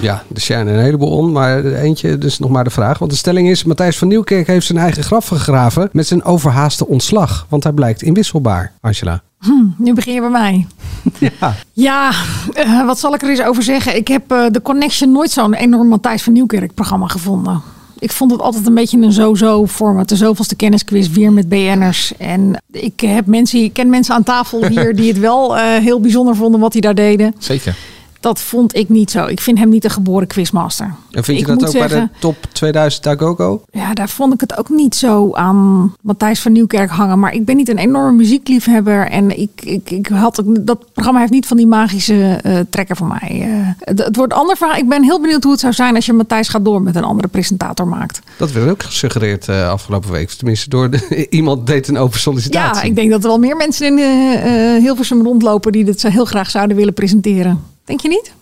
J: Ja, er zijn een heleboel on, maar eentje dus nog maar de vraag. Want de stelling is, Matthijs van Nieuwkerk heeft zijn eigen graf gegraven met zijn overhaaste ontslag. Want hij blijkt inwisselbaar, Angela.
K: Hm, nu begin je bij mij. Ja, eh, wat zal ik er eens over zeggen? Ik heb eh, de Connection nooit zo'n enorm Matthijs van Nieuwkerk programma gevonden. Ik vond het altijd een beetje een zo-zo format. De zoveelste kennisquiz, weer met BN'ers. En ik, heb mensen, ik ken mensen aan tafel hier die het wel eh, heel bijzonder vonden wat hij daar deden.
P: Zeker.
K: Dat vond ik niet zo. Ik vind hem niet een geboren quizmaster.
J: En vind je
K: Ik
J: dat
K: moet
J: ook bij
K: zeggen-
J: de top 2000 Dagogo?
K: Ja, daar vond ik het ook niet zo aan Matthijs van Nieuwkerk hangen. Maar ik ben niet een enorme muziekliefhebber. En ik, ik, ik had ook, dat programma heeft niet van die magische eh, trekker voor mij. Eh, het, het wordt een ander verhaal. Ik ben heel benieuwd hoe het zou zijn als je Matthijs gaat door met een andere presentator maakt.
J: Dat werd ook gesuggereerd eh, afgelopen week. Tenminste, door de- iemand deed een open sollicitatie.
K: Ja, ik denk dat er wel meer mensen in eh eh Hilversum rondlopen die dit zo heel graag zouden willen presenteren. Denk je niet?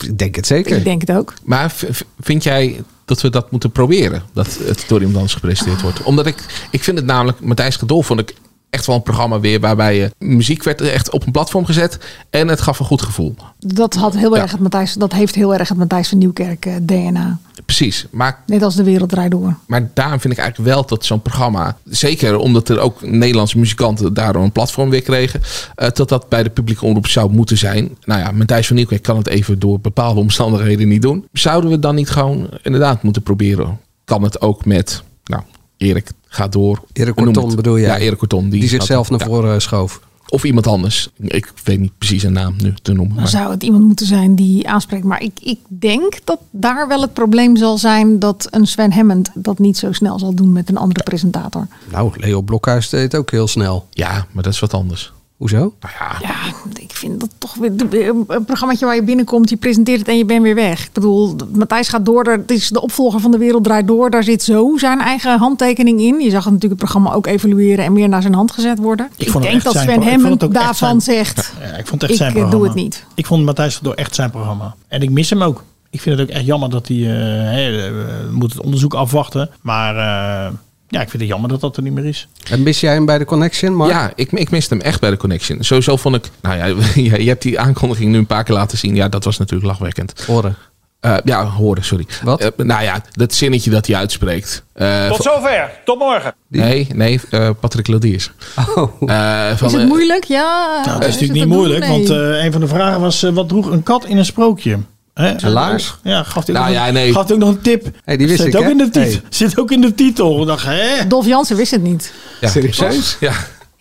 J: Ik denk het zeker.
K: Ik denk het ook.
P: Maar v- v- vind jij dat we dat moeten proberen? Dat het door iemand anders gepresenteerd wordt? Omdat ik, ik vind het namelijk, Matthijs Kadol vond ik echt wel een programma weer waarbij je muziek werd echt op een platform gezet en het gaf een goed gevoel.
K: Dat, had heel erg het Matthijs, dat heeft heel erg het Matthijs van Nieuwkerk eh, DNA.
P: Precies. Maar,
K: Net als de wereld draait door.
P: maar daarom vind ik eigenlijk wel dat zo'n programma, zeker omdat er ook Nederlandse muzikanten daardoor een platform weer kregen, eh, dat dat bij de publieke omroep zou moeten zijn. Nou ja, Matthijs van Nieuwkerk kan het even door bepaalde omstandigheden niet doen. Zouden we dan niet gewoon inderdaad moeten proberen? Kan het ook met, nou, Erik gaat door.
J: Erik
P: We noemen
J: Corton
P: het.
J: bedoel jij?
P: Ja, Erik Corton.
J: Die zichzelf naar
P: voren schoof. Of iemand anders. Ik weet niet precies een naam nu te noemen.
K: Dan
P: maar-
K: zou het iemand moeten zijn die aanspreekt. Maar ik, ik denk dat daar wel het probleem zal zijn dat een Sven Hammond dat niet zo snel zal doen met een andere presentator.
J: Nou, Leo Blokhuis deed ook heel snel.
P: Ja, maar dat is wat anders.
J: Hoezo?
K: Ja, ik vind dat toch weer eh, een programma waar je binnenkomt, je presenteert het en je bent weer weg. Ik bedoel, Matthijs gaat door, daar- het is de opvolger van De Wereld Draait Door. Daar zit zo zijn eigen handtekening in. Je zag het natuurlijk het programma ook evolueren en meer naar zijn hand gezet worden. Ik,
L: vond het
K: denk
L: echt
K: dat
L: zijn
K: Sven
L: pro- ik vond
K: Hammond
L: het ook echt
K: daarvan
L: zijn-
K: zegt,
L: Ja, ik vond het echt zijn
K: ik eh,
L: programma.
K: doe het niet.
L: Ik vond Matthijs van Door echt zijn programma. En ik mis hem ook. Ik vind het ook echt jammer dat hij... eh, hè, eh, we moeten het onderzoek afwachten. Maar eh, ja, ik vind het jammer dat dat er niet meer is.
K: Ah,
J: En mis jij hem bij de Connection, Mark?
P: Ja, ik, ik miste hem echt bij de Connection. Sowieso vond ik... Nou ja, je, je hebt die aankondiging nu een paar keer laten zien. Ja, dat was natuurlijk lachwekkend. Eh,
J: Horen.
P: ja, horen, sorry. Wat? nou ja, dat zinnetje dat hij uitspreekt. Eh,
D: Tot
P: van-
D: zover. Tot morgen.
P: Nee, nee, eh, Patrick Lodiers. Eh, van,
K: Is het
P: eh,
K: moeilijk? Ja.
L: Nou, dat is
K: het
L: natuurlijk niet
K: te doen?
L: moeilijk,
K: Nee.
L: want eh, een van de vragen was: eh, wat droeg een kat in een sprookje? Hè?
P: Zijn laars?
L: Ja, gaf hij
P: Nou
L: ook,
P: ja,
L: nog-
P: nee.
L: gaf hij ook nog een tip.
P: Hey, die wist
L: Zit
P: ik,
L: ook
P: hè? Eh,
L: in de titel.
P: Hey.
L: Zit ook in de titel. Ik dacht, hè?
K: Dolf Jansen wist het niet.
P: ja,
L: Serieus?
P: Ja.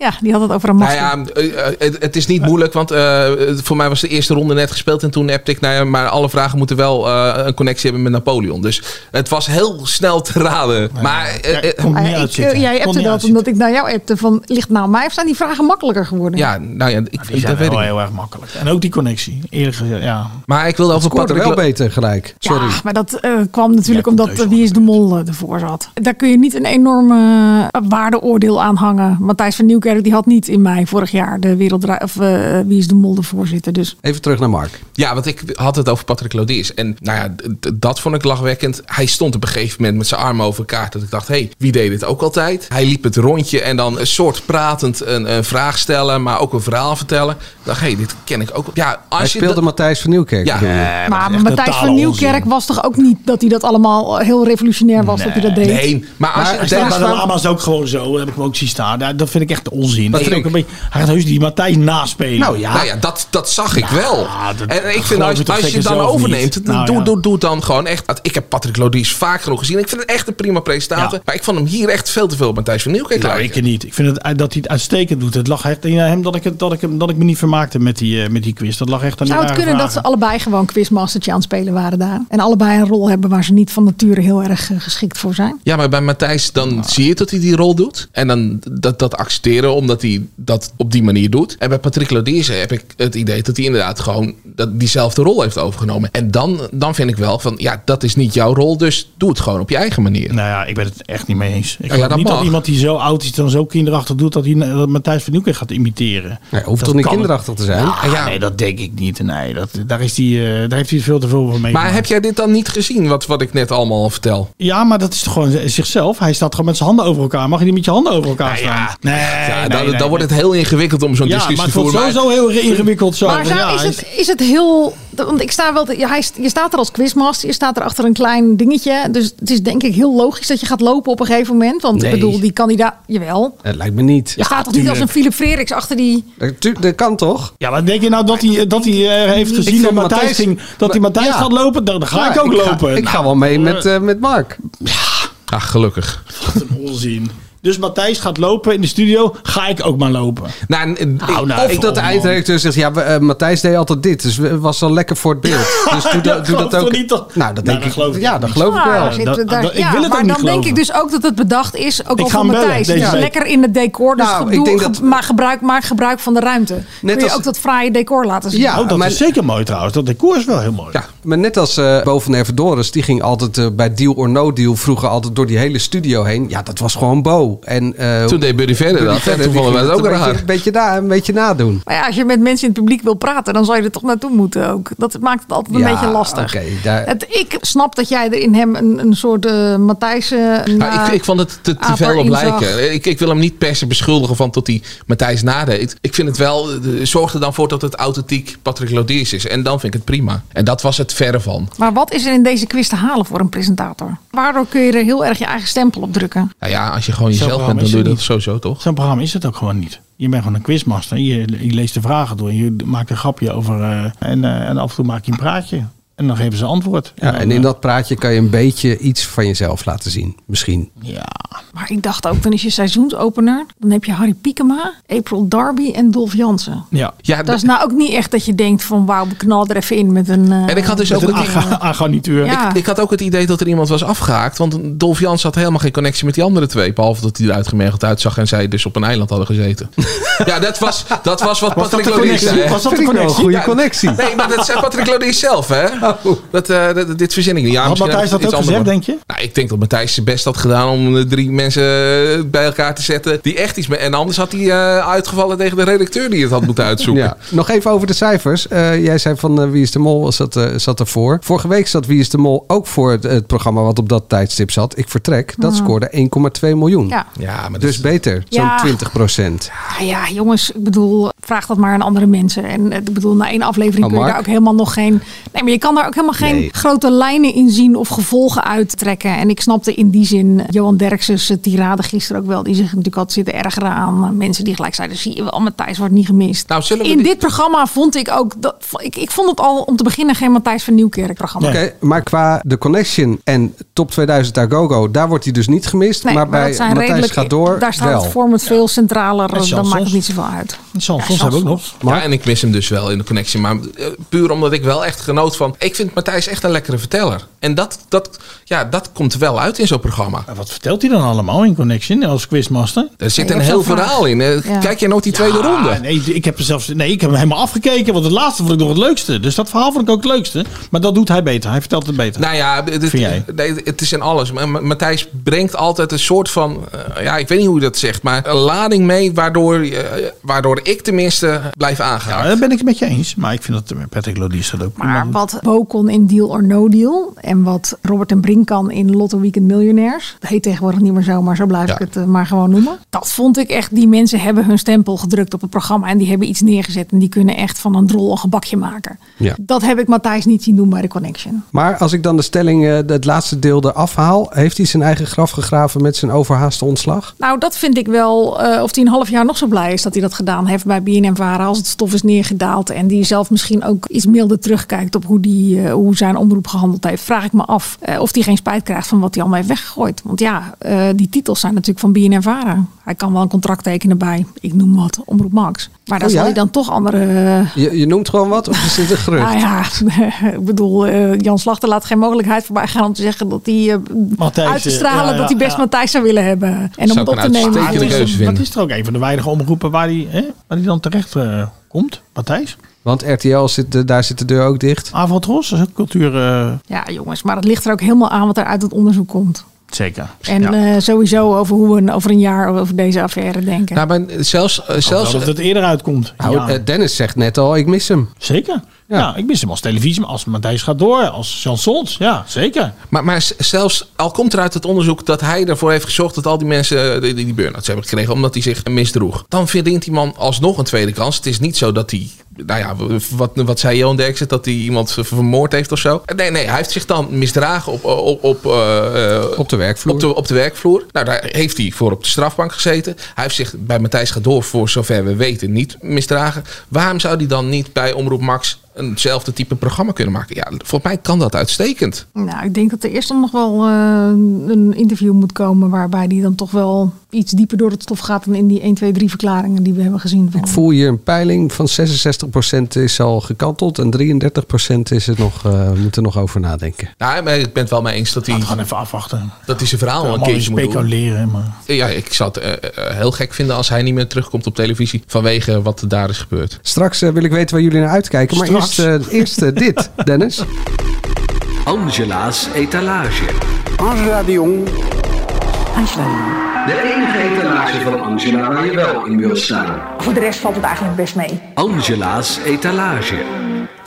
K: Ja, die had het over een
P: Nou
K: masker.
P: ja, eh, eh, het, het is niet moeilijk, want eh, voor mij was de eerste ronde net gespeeld en toen appte ik, nou ja, maar alle vragen moeten wel eh, een connectie hebben met Napoleon. Dus het was heel snel te raden. maar eh, eh,
K: Ah, ik, eh, jij appte dat omdat ik naar jou appte van ligt nou mij of zijn die vragen makkelijker geworden?
P: Ja, nou ja, ik,
L: Die
P: dat
L: zijn
P: weet ik.
L: wel heel erg makkelijk. En ook die connectie, eerlijk gezegd, ja.
P: Maar ik wilde over
J: scoorde
P: Patrick
J: wel
P: Lo-
J: beter gelijk. Sorry.
K: Ja, maar dat eh, kwam natuurlijk omdat eh, Wie is de Mol eh, ervoor zat. Daar kun je niet een enorme eh, waardeoordeel aan hangen. Matthijs van Nieuwkerk die had niet in mei vorig jaar de werelddra- of eh, Wie is de Mol de voorzitter. Dus
J: Even terug naar Mark.
P: Ja, want ik had het over Patrick Lodiers. En nou ja, d- d- dat vond ik lachwekkend. Hij stond op een gegeven moment met zijn armen over elkaar. Dat ik dacht, hé, hey, wie deed dit ook altijd? Hij liep het rondje en dan een soort pratend een, een vraag stellen, maar ook een verhaal vertellen. Ik dacht, hé, hey, dit ken ik ook. Ja, als
J: Hij
P: je
J: speelde
P: dat-
J: Matthijs van Nieuwkerk.
P: Ja.
J: bedoel je?
P: Nee,
K: maar Matthijs van Nieuwkerk was toch ook niet dat hij dat allemaal eh, heel revolutionair was dat hij dat deed?
P: Nee, maar als je-
L: maar
P: daar
L: daar
P: staan-
L: is ook gewoon zo, heb ik hem ook zien staan. Ja, Dat vind ik echt onzin. Dat vind ik ook een beetje, hij gaat heus die Matthijs naspelen.
P: Nou ja, dat, dat zag
L: Nou,
P: ik wel. en ik vind,
L: geloof
P: als,
L: je toch
P: als je
L: zeker
P: het dan
L: zelf
P: overneemt,
L: niet? Nou
P: doe,
L: ja.
P: doe, doe het dan gewoon echt. Ik heb Patrick Lodiers vaak genoeg gezien. Ik vind het echt een prima presentator. Maar ik vond hem hier echt veel te veel op Matthijs van Nieuwkerk
L: Nou,
P: lijken.
L: ik niet. Ik vind het, eh, dat hij het uitstekend doet. Het lag echt in eh, hem dat ik, het, dat ik, hem, dat ik me niet vermaakte met die, eh, met die quiz. Dat lag echt aan die
K: Zou het
L: rare
K: kunnen dat ze
L: vragen.
K: allebei gewoon quizmastertje aan het spelen waren daar? En allebei een rol hebben waar ze niet van nature heel erg eh, geschikt voor zijn?
P: Ja, maar bij Matthijs dan
L: Nou.
P: zie je dat hij die rol doet. En dan dat, dat accepteren omdat hij dat op die manier doet. En bij Patrick Lodiers heb ik het idee dat hij inderdaad gewoon dat, diezelfde rol heeft overgenomen. En dan, dan vind ik wel van, ja, dat is niet jouw rol, dus doe het gewoon op je eigen manier.
L: Nou ja, ik ben het echt niet mee eens. Ik
P: Ja,
L: geloof
P: dat
L: niet
P: mag.
L: dat iemand die zo oud is dan zo kinderachtig doet dat hij eh, dat Matthijs van Nieuwkerk gaat imiteren.
J: Nee, hoeft toch niet kinderachtig te zijn?
L: Ja, Ah, Nee, dat denk ik niet. Nee, dat, daar, is die, eh, daar heeft hij veel te veel van mee.
P: Maar heb jij dit dan niet gezien, wat, wat ik net allemaal al vertel?
L: Ja, maar dat is toch gewoon z- zichzelf. Hij staat gewoon met zijn handen over elkaar. Mag je niet met je handen over elkaar staan? Nee,
P: Nou ja,
L: nee,
P: dan,
L: nee,
P: dan
L: nee.
P: wordt het heel ingewikkeld om zo'n
L: Ja,
P: discussie
L: maar
P: te
L: het
P: voeren.
L: wordt sowieso heel re- ingewikkeld zo.
K: Maar
L: Want
K: zou-
L: ja,
K: is,
L: hij
K: het, is het heel. Want ik sta wel. te- Ja, hij, st- je staat er als quizmaster, je staat er achter een klein dingetje. Dus het is denk ik heel logisch dat je gaat lopen op een gegeven moment. Want
J: Nee.
K: ik bedoel, die kandidaat. Jawel.
J: Het Eh, lijkt me niet. Eh,
K: Je staat toch niet als een Philip Freriks achter die.
J: Dat, kan toch?
L: Ja, maar denk je nou dat hij, dat hij eh, heeft
J: Ik
L: gezien
J: vind
L: dat Matthijs,
J: Matthijs-
L: ging, dat hij
J: Ja.
L: Matthijs gaat lopen? Dan, dan ga
J: Ja,
L: ik ook
J: ik ga-
L: lopen.
J: ik ga wel mee met, eh, met Mark.
P: Ach, Ah, gelukkig.
L: Wat een onzin. Dus Matthijs gaat lopen in de studio. Ga ik ook maar lopen.
P: Nou, n-
L: Nou,
P: ik- Oh.
L: nou,
J: Of dat de
L: man.
J: eindredacteur zegt, ja, we- eh, Matthijs deed altijd dit. Dus we- was al lekker voor het beeld. Dus doe, dat- doe
L: geloof
J: dat
L: toch
J: ook.
L: niet, toch? Nou,
J: Nou, dat denk
L: dat
J: ik.
L: geloof ik
J: ja,
L: niet.
J: dat geloof ik
L: Ah,
J: wel.
K: Daar zitten we daar-
L: dat- ik
K: ja,
L: wil het
K: maar
L: ook niet
K: dan denk
L: geloven.
K: ik dus ook dat het bedacht is, ook
L: Ik
K: al
L: ga
K: van
L: hem bellen
K: Matthijs.
L: deze
K: Het is
L: week.
K: lekker in het decor, dus
J: Nou, ik
K: gedoe,
J: denk
K: ge-
J: dat-
K: maar gebruik, maak gebruik van de ruimte. Kun je
J: als-
K: ook dat fraaie decor laten zien.
J: Ja,
L: Oh, dat
J: maar-
L: is zeker mooi trouwens. Dat decor is wel heel mooi.
J: Ja, maar net als eh Bo van Ervedoris, die ging altijd eh, bij Deal or No Deal vroeger altijd door die hele studio heen. Ja, dat was gewoon Bo. En, eh,
P: Toen deed Buddy verder dat.
J: Verder,
P: En toen
J: die
P: vonden we
J: ging
P: het ook
J: een beetje,
P: raar.
J: een, beetje na, een beetje nadoen.
K: Maar ja, als je met mensen in het publiek wil praten, dan zou je er toch naartoe moeten ook. Dat maakt het altijd een
J: Ja,
K: beetje lastig.
J: Oké, daar-
K: Het, ik snap dat jij er in hem een, een soort eh Matthijs. eh, na-
P: Maar Nou, ik, ik vond het te, te
K: aap
P: veel op
K: erin zag.
P: lijken. Ik, ik wil hem niet per se beschuldigen van tot hij Matthijs nadeed. Ik vind het wel, eh, zorg er dan voor dat het authentiek Patrick Lodiers is. En dan vind ik het prima. En dat was het verre van.
K: Maar wat is er in deze quiz te halen voor een presentator? Waardoor kun je er heel erg je eigen stempel op drukken?
P: Nou ja, als je gewoon
L: Zo'n
P: jezelf bent,
L: programma
P: dan
L: is
P: doe je
L: het
P: dat
L: niet.
P: sowieso toch?
L: Zo'n programma is het ook gewoon niet. Je bent gewoon een quizmaster. Je, je leest de vragen door. Je maakt een grapje over. eh, en, eh, en af en toe maak je een praatje. En dan geven ze antwoord.
J: Ja, en in dat praatje kan je een beetje iets van jezelf laten zien. Misschien.
K: Maar ik dacht ook, dan is je seizoensopener. Dan heb je Harry Piekema, April Darby en Dolph Jansen.
L: Ja.
P: ja
K: Dat is nou ook niet echt dat je denkt van wauw, we knallen er even in met een... eh,
P: En ik had dus ook het idee-
L: agonituur.
K: Ja.
P: Ik, ik had ook het idee dat er iemand was afgehaakt. Want Dolf Jans had helemaal geen connectie met die andere twee. Behalve dat hij eruit gemergeld uitzag en zij dus op een eiland hadden gezeten. ja, dat was, dat was wat
L: Was dat
P: Patrick
L: de
P: Lodiers
L: connectie?
P: zei. hè?
L: Was dat de Vind ik wel een connectie? goede
J: connectie.
P: Nee, maar dat zei Patrick Lodiers zelf, hè? Dat, eh, dat- dit verzin ik niet. Ja,
L: Oh. Had
P: misschien
L: Matthijs
P: had
L: dat
P: het
L: ook
P: iets
L: gezegd,
P: anders
L: denk je?
P: worden. Nou, ik denk dat Matthijs zijn best had gedaan om eh, drie mensen eh, bij elkaar te zetten. Die echt iets... me- En anders had hij eh, uitgevallen tegen de redacteur die het had moeten uitzoeken.
J: Ja. Nog even over de cijfers. Eh, jij zei van eh, Wie is de Mol was dat, eh, zat ervoor. Vorige week zat Wie is de Mol ook voor het, het programma wat op dat tijdstip zat. Ik vertrek. Dat
K: Mhm.
J: scoorde 1,2 miljoen.
K: Ja.
J: dus beter.
K: Ja.
J: Zo'n 20 procent.
K: Ah ja, jongens, ik bedoel, vraag dat maar aan andere mensen. En eh, ik bedoel, na één aflevering
J: Oh,
K: kun je
J: Mark?
K: daar ook helemaal nog geen... Nee, maar je kan daar ook helemaal geen
J: Nee.
K: grote lijnen in zien of gevolgen uittrekken. En ik snapte in die zin Johan Derksen's eh, tirade gisteren ook wel. Die zich natuurlijk had zitten ergeren aan eh, mensen die gelijk zeiden... zie je wel, Matthijs wordt niet gemist.
P: Nou, zullen we
K: in
P: die-
K: dit programma vond ik ook... Dat, ik, ik vond het al om te beginnen geen Matthijs van Nieuwkerk programma.
J: Oké, maar qua de connection en top 2000 Agogo, daar wordt hij dus niet gemist.
K: Nee,
J: maar
K: dat
J: bij
K: zijn
J: Matthijs
K: redelijk-
J: gaat door.
K: Daar staat
J: wel.
K: het format veel centraler.
P: Met
K: dan
P: chansons.
K: maakt het niet zoveel uit.
L: Chansons hebben we ook nog.
P: Ja, en ik mis hem dus wel in de connectie. Maar eh, puur omdat ik wel echt genoot van... Ik vind Matthijs echt een lekkere verteller. En dat, dat, ja, dat komt er wel uit in zo'n programma.
L: Wat vertelt hij dan allemaal in Connection eh, als quizmaster?
P: Er zit een heel verhaal in. Eh, Kijk je nooit die tweede
L: Ja,
P: ronde?
L: Nee, ik heb er zelfs, nee, ik heb hem helemaal afgekeken. Want het laatste vond ik nog het leukste. Dus dat verhaal vond ik ook het leukste. Maar dat doet hij beter. Hij vertelt het beter.
P: Nou ja, dit-
L: Vind jij?
P: nee, het is in alles. Maar Ma- Matthijs brengt altijd een soort van... eh, ja, ik weet niet hoe je dat zegt. Maar een lading mee waardoor, eh, waardoor ik tenminste blijf aangaan.
L: Nou, eh, Ja, dat ben ik het met je eens. Maar ik vind dat Patrick Lodiers dat ook prima
K: Maar
L: doet.
K: wat Bo kon in Deal or No Deal. en wat Robert en Brink kan in Lotto Weekend Miljonairs. Dat heet tegenwoordig niet meer zo, maar zo blijf ik het eh, maar gewoon noemen. Dat vond ik echt, die mensen hebben hun stempel gedrukt op het programma en die hebben iets neergezet en die kunnen echt van een drol een gebakje maken.
J: Ja.
K: Dat heb ik Matthijs niet zien doen bij de Connection.
J: Maar als ik dan de stelling, eh, het laatste deel eraf haal, heeft hij zijn eigen graf gegraven met zijn overhaaste ontslag?
K: Nou, dat vind ik wel. eh, of hij een half jaar nog zo blij is dat hij dat gedaan heeft bij BNM Varen. Als het stof is neergedaald. En die zelf misschien ook iets milder terugkijkt op hoe, die, eh, hoe zijn omroep gehandeld heeft. Vraag ik me af eh, of hij geen spijt krijgt van wat hij allemaal heeft weggegooid. Want ja, eh, die titels zijn natuurlijk van BNM Varen. Hij kan wel een contract tekenen bij, ik noem wat, Omroep Max. Maar daar
J: Oh ja?
K: zal hij dan toch andere eh,
J: Je, je noemt gewoon wat of is dit een gerucht?
K: nou ja, ik bedoel, eh, Jan Slachter laat geen mogelijkheid voorbij gaan om te zeggen dat hij eh,
L: Matthijs,
K: uit te stralen
L: ja, ja,
K: dat hij best
L: ja.
K: Matthijs zou willen hebben. En om
P: Zou
K: dat
P: ik
K: te
P: een
K: nemen. dus-
P: uitstekende keuze
L: Dat
P: vinden.
L: is er ook een van de weinige omroepen waar hij, hè, waar hij dan terecht eh, komt. Matthijs?
J: Want RTL, zit, de- daar zit de deur ook dicht.
L: Avaltros, dat is ook cultuur... eh,
K: Ja, jongens, maar dat ligt er ook helemaal aan wat er uit het onderzoek komt.
L: Zeker.
K: En eh, sowieso over hoe we een- over een jaar over deze affaire denken.
J: Nou, maar zelfs... eh, zelfs
L: Oh, dat het eerder uitkomt.
J: Nou,
L: Ja.
J: eh, Dennis zegt net al, ik mis hem.
L: Zeker. Ja. ik mis hem als televisie, maar als Matthijs gaat door, als chansons, ja, zeker.
P: Maar, maar s- zelfs al komt er uit het onderzoek dat hij ervoor heeft gezorgd dat al die mensen eh, die, die burn-outs hebben gekregen, omdat hij zich misdroeg. Dan verdient die man alsnog een tweede kans. Het is niet zo dat hij, nou ja, w- wat, wat zei Johan Derksen, dat hij iemand ver- vermoord heeft of zo. Eh, Nee, nee, hij heeft zich dan misdragen op, op, op, eh, eh,
J: Op de werkvloer.
P: op de, op de werkvloer. Nou, daar heeft hij voor op de strafbank gezeten. Hij heeft zich bij Matthijs Gadoor, voor zover we weten, niet misdragen. Waarom zou hij dan niet bij Omroep Max eenzelfde type programma kunnen maken? Ja, volgens mij kan dat uitstekend.
K: Nou, ik denk dat er eerst dan nog wel eh, een interview moet komen waarbij die dan toch wel iets dieper door het stof gaat dan in die 1, 2, 3 verklaringen die we hebben gezien. Van.
J: Ik voel hier een peiling van 66% is al gekanteld en 33% is het nog, eh moeten nog over nadenken.
P: Nou, maar ik ben het wel mee eens dat hij.
L: Gewoon even afwachten.
P: Dat hij zijn verhaal een
L: Allemaal
P: keertje moet doen.
L: speculeren, maar...
P: Ja, ik zou het eh, eh, heel gek vinden als hij niet meer terugkomt op televisie vanwege wat er daar is gebeurd.
J: Straks eh, wil ik weten waar jullie naar uitkijken, maar
P: Straks.
J: eerst, eh, eerst eh, dit, Dennis.
S: Angela's etalage.
E: Angela de Jong.
S: De enige etalage van Angela waar je wel in wilt staan.
T: Voor de rest valt het eigenlijk best mee.
S: Angela's etalage.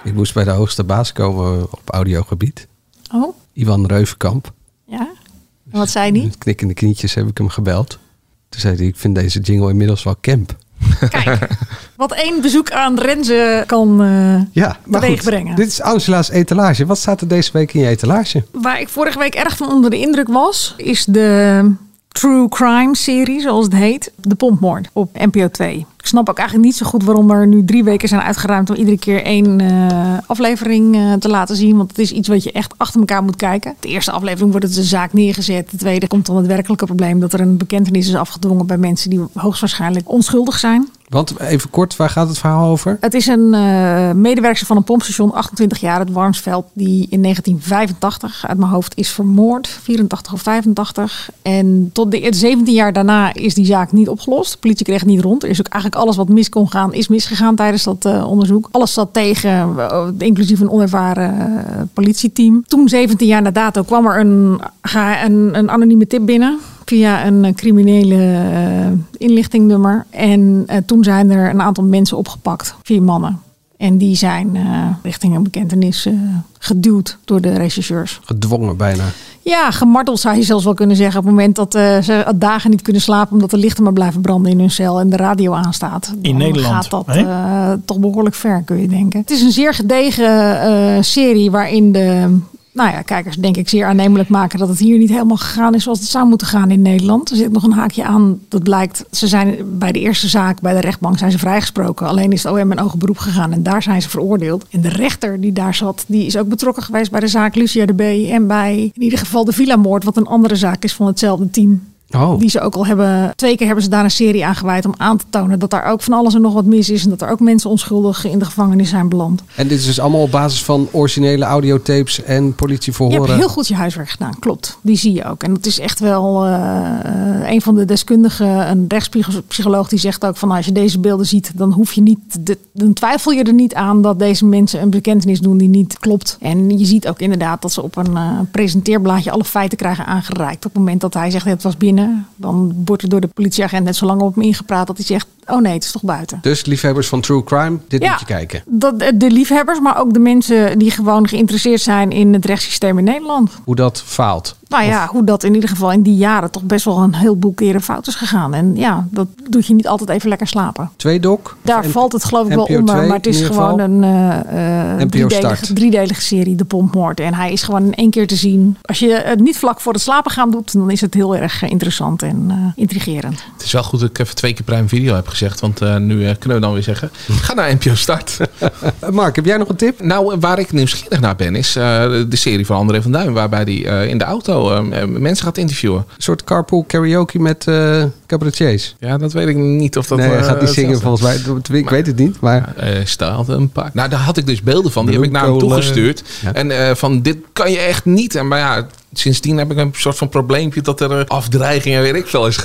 J: Ik moest bij de hoogste baas komen op audiogebied.
K: Oh,
J: Ivan Reuvenkamp.
K: ja. En wat zei die?
J: Met knikkende knietjes heb ik hem gebeld. Toen zei hij, ik vind deze jingle inmiddels wel camp.
K: Wat één bezoek aan Renze kan eh,
J: Ja, maar
K: Teweeg
J: goed.
K: brengen.
J: Dit is Angela's etalage. Wat staat er deze week in je etalage?
K: Waar ik vorige week erg van onder de indruk was, is de True Crime serie, zoals het heet. De Pompmoord op NPO 2. Ik snap ook eigenlijk niet zo goed waarom er nu drie weken zijn uitgeruimd om iedere keer één eh, aflevering eh, te laten zien. Want het is iets wat je echt achter elkaar moet kijken. De eerste aflevering wordt het de zaak neergezet. De tweede komt dan het werkelijke probleem dat er een bekentenis is afgedwongen bij mensen die hoogstwaarschijnlijk onschuldig zijn.
J: Want even kort, waar gaat het verhaal over?
K: Het is een eh, medewerker van een pompstation, 28 jaar, het Warmsveld, die in 1985 uit mijn hoofd is vermoord, 84 of 85. En tot de 17 jaar daarna is die zaak niet opgelost. De politie kreeg het niet rond. Er is ook eigenlijk alles wat mis kon gaan, is misgegaan tijdens dat eh, onderzoek. Alles zat tegen, eh, inclusief een onervaren eh, politieteam. Toen, 17 jaar na dato, kwam er een, ga- een, een anonieme tip binnen via een eh, criminele eh, inlichtingnummer. En eh, toen zijn er een aantal mensen opgepakt, vier mannen. En die zijn eh, richting een bekentenis eh, geduwd door de rechercheurs.
J: Gedwongen bijna.
K: Ja, gemarteld zou je zelfs wel kunnen zeggen. Op het moment dat eh, ze dagen niet kunnen slapen omdat de lichten maar blijven branden in hun cel en de radio aanstaat. dan
L: Nederland,
K: gaat dat
L: hè?
K: eh, toch behoorlijk ver, kun je denken. Het is een zeer gedegen eh, serie waarin de nou ja, kijkers denk ik zeer aannemelijk maken dat het hier niet helemaal gegaan is zoals het zou moeten gaan in Nederland. Er zit nog een haakje aan dat blijkt. Ze zijn bij de eerste zaak bij de rechtbank zijn ze vrijgesproken. Alleen is het OM in hoger beroep gegaan en daar zijn ze veroordeeld. En de rechter die daar zat, die is ook betrokken geweest bij de zaak Lucia de B. En bij in ieder geval de Villa-moord, wat een andere zaak is van hetzelfde team.
J: Oh.
K: Die ze ook al hebben. Twee keer hebben ze daar een serie aan gewijd om aan te tonen dat daar ook van alles en nog wat mis is. En dat er ook mensen onschuldig in de gevangenis zijn beland.
J: En dit is dus allemaal op basis van originele audiotapes en
K: Je
J: politieverhoren.
K: hebt heel goed je huiswerk gedaan, klopt. Die zie je ook. En dat is echt wel eh, een van de deskundigen, een rechtspsycholoog, die zegt ook van als je deze beelden ziet, dan hoef je niet, de- dan twijfel je er niet aan dat deze mensen een bekentenis doen die niet klopt. En je ziet ook inderdaad dat ze op een eh, presenteerblaadje alle feiten krijgen aangereikt. Op het moment dat hij zegt het was binnen, dan wordt er door de politieagent net zo lang op hem ingepraat dat hij zegt oh nee, het is toch buiten.
J: Dus liefhebbers van True Crime, dit
K: Ja.
J: moet je kijken.
K: Dat, eh, de liefhebbers, maar ook de mensen die gewoon geïnteresseerd zijn in het rechtssysteem in Nederland.
J: Hoe dat faalt.
K: Nou ja, hoe dat in ieder geval in die jaren toch best wel een heleboel keren fout is gegaan. En ja, dat doet je niet altijd even lekker slapen.
J: Twee doc.
K: Daar
J: N-
K: valt het geloof ik wel
J: NPO
K: onder,
J: 2
K: maar het is
J: in ieder geval.
K: gewoon een eh, eh,
J: NPO
K: driedelige,
J: start.
K: driedelige serie, De Pompmoord. En hij is gewoon in één keer te zien. Als je het niet vlak voor het slapen gaan doet, dan is het heel erg eh, interessant en eh, intrigerend.
P: Het is wel goed dat ik even twee keer Prime Video heb gezegd. Want eh, nu eh, kunnen we dan weer zeggen, ga naar NPO Start.
J: Eh, Mark, heb jij nog een tip?
P: Nou, waar ik nieuwsgierig naar ben, is eh, de serie van André van Duin. Waarbij hij eh, in de auto eh, eh, mensen gaat interviewen.
J: Een soort carpool karaoke met eh cabaretiers.
P: Ja, dat weet ik niet of dat...
J: nee, hij
P: eh,
J: gaat niet zingen
P: hetzelfde-
J: volgens mij. Ik weet het niet, maar...
P: Eh, staat een paar. Nou, daar had ik dus beelden van. Die heb ik naar hem
J: Bloemkolen.
P: toegestuurd. En eh, van dit kan je echt niet. En maar ja, sindsdien heb ik een soort van probleempje dat er eh, afdreiging en weet ik veel is.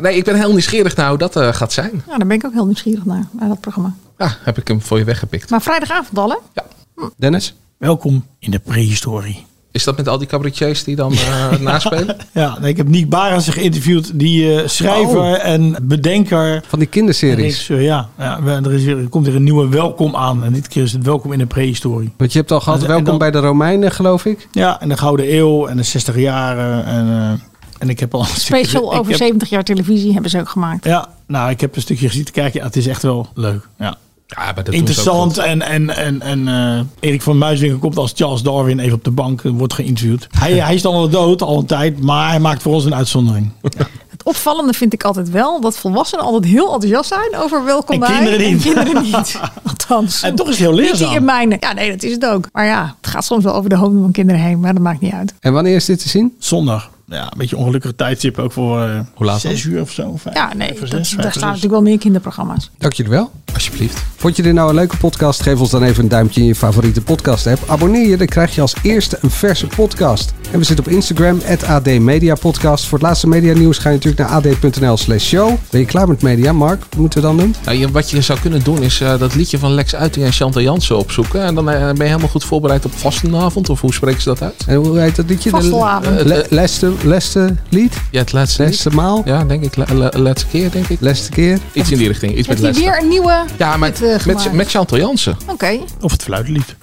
P: nee, ik ben heel nieuwsgierig naar hoe dat eh, gaat zijn.
K: Nou, daar ben ik ook heel nieuwsgierig naar, naar dat programma.
P: Ja, heb ik hem voor je weggepikt.
K: Maar vrijdagavond al, hè?
J: Dennis?
L: Welkom in de prehistorie.
P: Is dat met al die cabaretiers die dan eh, naspelen?
L: Ja, nee, ik heb Nick Barens geïnterviewd, die eh, schrijver
P: Oh.
L: en bedenker.
J: Van die kinderseries.
L: En regisseur, ja, ja we- er, is weer, er komt weer een nieuwe welkom aan. En dit keer is het welkom in de prehistorie.
J: Want je hebt al gehad,
L: En- en
J: welkom
L: dan-
J: bij de Romeinen, geloof ik.
L: Ja, en de Gouden Eeuw en de 60 jaren. En, eh, en ik heb al een stukje-
K: Special
L: ik
K: over
L: heb-
K: 70 jaar televisie hebben ze ook gemaakt.
L: Ja, nou, ik heb een stukje gezien te kijken. Ja, het is echt wel leuk. Ja.
P: Ja, maar dat doen ze ook
L: Interessant
P: goed.
L: en, en, en, en eh, Erik van Muiswinkel komt als Charles Darwin even op de bank en wordt geïnterviewd. Hij, hij is dan al dood, al een tijd, maar hij maakt voor ons een uitzondering.
K: Het opvallende vind ik altijd wel dat volwassenen altijd heel enthousiast zijn over welkom
L: En
K: bij.
L: kinderen
K: en
L: niet.
K: kinderen niet. Althans.
L: En toch is het heel
K: Niet die in
L: leerzaam.
K: mijn. Ja, nee, dat is het ook. Maar ja, het gaat soms wel over de hoofden van kinderen heen, maar dat maakt niet uit.
J: En wanneer is dit te zien?
L: Zondag. Ja, een beetje ongelukkig tijdstip ook voor eh, zes uur of zo. Vijf,
K: Ja, nee,
L: vijf
K: dat,
L: of
K: daar
L: zes,
K: staan
L: vijf of zes.
K: natuurlijk wel meer kinderprogramma's.
J: Dank jullie wel.
P: Alsjeblieft.
J: Vond je dit nou een leuke podcast? Geef ons dan even een duimpje in je favoriete podcast app. Abonneer je, dan krijg je als eerste een verse podcast. En we zitten op Instagram, @admediapodcast. Voor het laatste medianieuws ga je natuurlijk naar ad.nl slash show. Ben je klaar met media, Mark? Wat moeten we dan doen?
P: Nou, je- wat je zou kunnen doen is eh, dat liedje van Lex Uiting en Chantal Jansen opzoeken. En dan eh, ben je helemaal goed voorbereid op vastenavond. Of hoe spreken ze dat uit?
J: En hoe heet dat liedje? De-
P: Vastelavond.
J: Eh, le- Leste, leste lied?
P: Ja, het laatste
J: Leste maal?
P: Ja, denk ik. Le- le- laatste keer, denk ik.
J: Laatste keer.
P: Iets in die richting. Iets
K: Heeft
P: met
K: hij
P: Lester.
K: weer een nieuwe?
P: Ja, maar
K: dit, eh,
P: met,
K: gemaakt?
P: met Chantal Jansen.
K: Oké.
L: Of het fluitlied.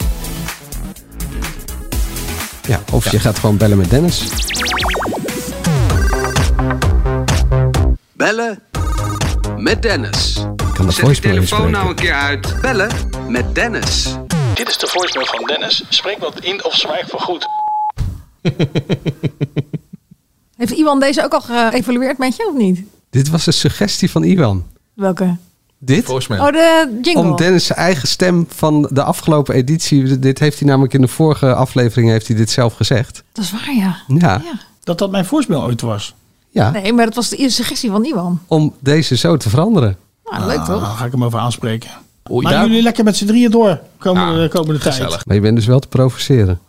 J: Ja, of je gaat gewoon bellen met Dennis.
M: Bellen met Dennis.
J: Kan de voicemail inspreken.
M: nou een keer uit. Bellen met Dennis.
L: Dit is de voicemail van Dennis. Spreek wat in of zwijg voor goed.
K: Heeft iemand deze ook al geëvalueerd met je of niet?
J: Dit was een suggestie van Iwan.
K: Welke?
J: Dit?
K: Oh, de jingle.
J: Om Dennis' zijn eigen stem van de afgelopen editie. Dit heeft hij namelijk in de vorige aflevering heeft hij dit zelf gezegd.
K: Dat is waar, ja.
J: Ja.
L: Dat dat mijn voorspel ooit was.
J: Ja.
K: Nee, maar dat was de eerste suggestie van Iwan.
J: Om deze zo te veranderen.
K: Nou, leuk toch?
L: Daar ga ik hem over aanspreken.
J: Oei,
L: maar
J: daar-
L: jullie lekker met z'n drieën door komende, de komende tijd.
J: Maar je bent dus wel te provoceren.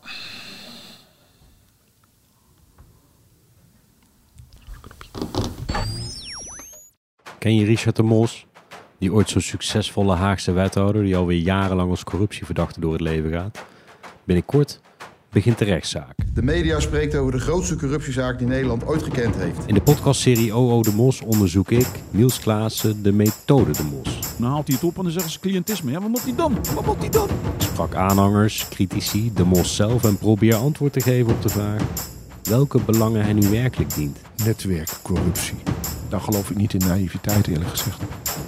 U: Ken je Richard de Mos? Die ooit zo'n succesvolle Haagse wethouder die alweer jarenlang als corruptieverdachte door het leven gaat. Binnenkort begint de rechtszaak.
V: De media spreekt over de grootste corruptiezaak die Nederland ooit gekend heeft.
U: In de podcastserie OO de Mos onderzoek ik, Niels Klaassen, de methode de Mos.
W: Dan haalt hij het op en dan zeggen ze cliëntisme. Ja, wat moet hij dan? Wat moet hij dan?
U: Ik sprak aanhangers, critici, de Mos zelf en probeer antwoord te geven op de vraag welke belangen hij nu werkelijk dient.
X: Netwerkcorruptie. Daar geloof ik niet in naïviteit eerlijk gezegd.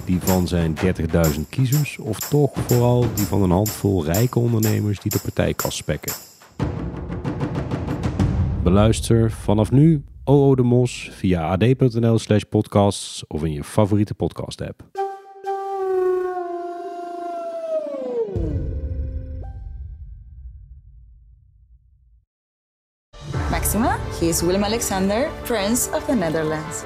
U: Die van zijn 30.000 kiezers of toch vooral die van een handvol rijke ondernemers die de partijkast spekken. Beluister vanaf nu OO de Mos via ad.nl slash podcasts of in je favoriete podcast app.
A: Maxima, he is Willem Alexander, Prince of the Netherlands.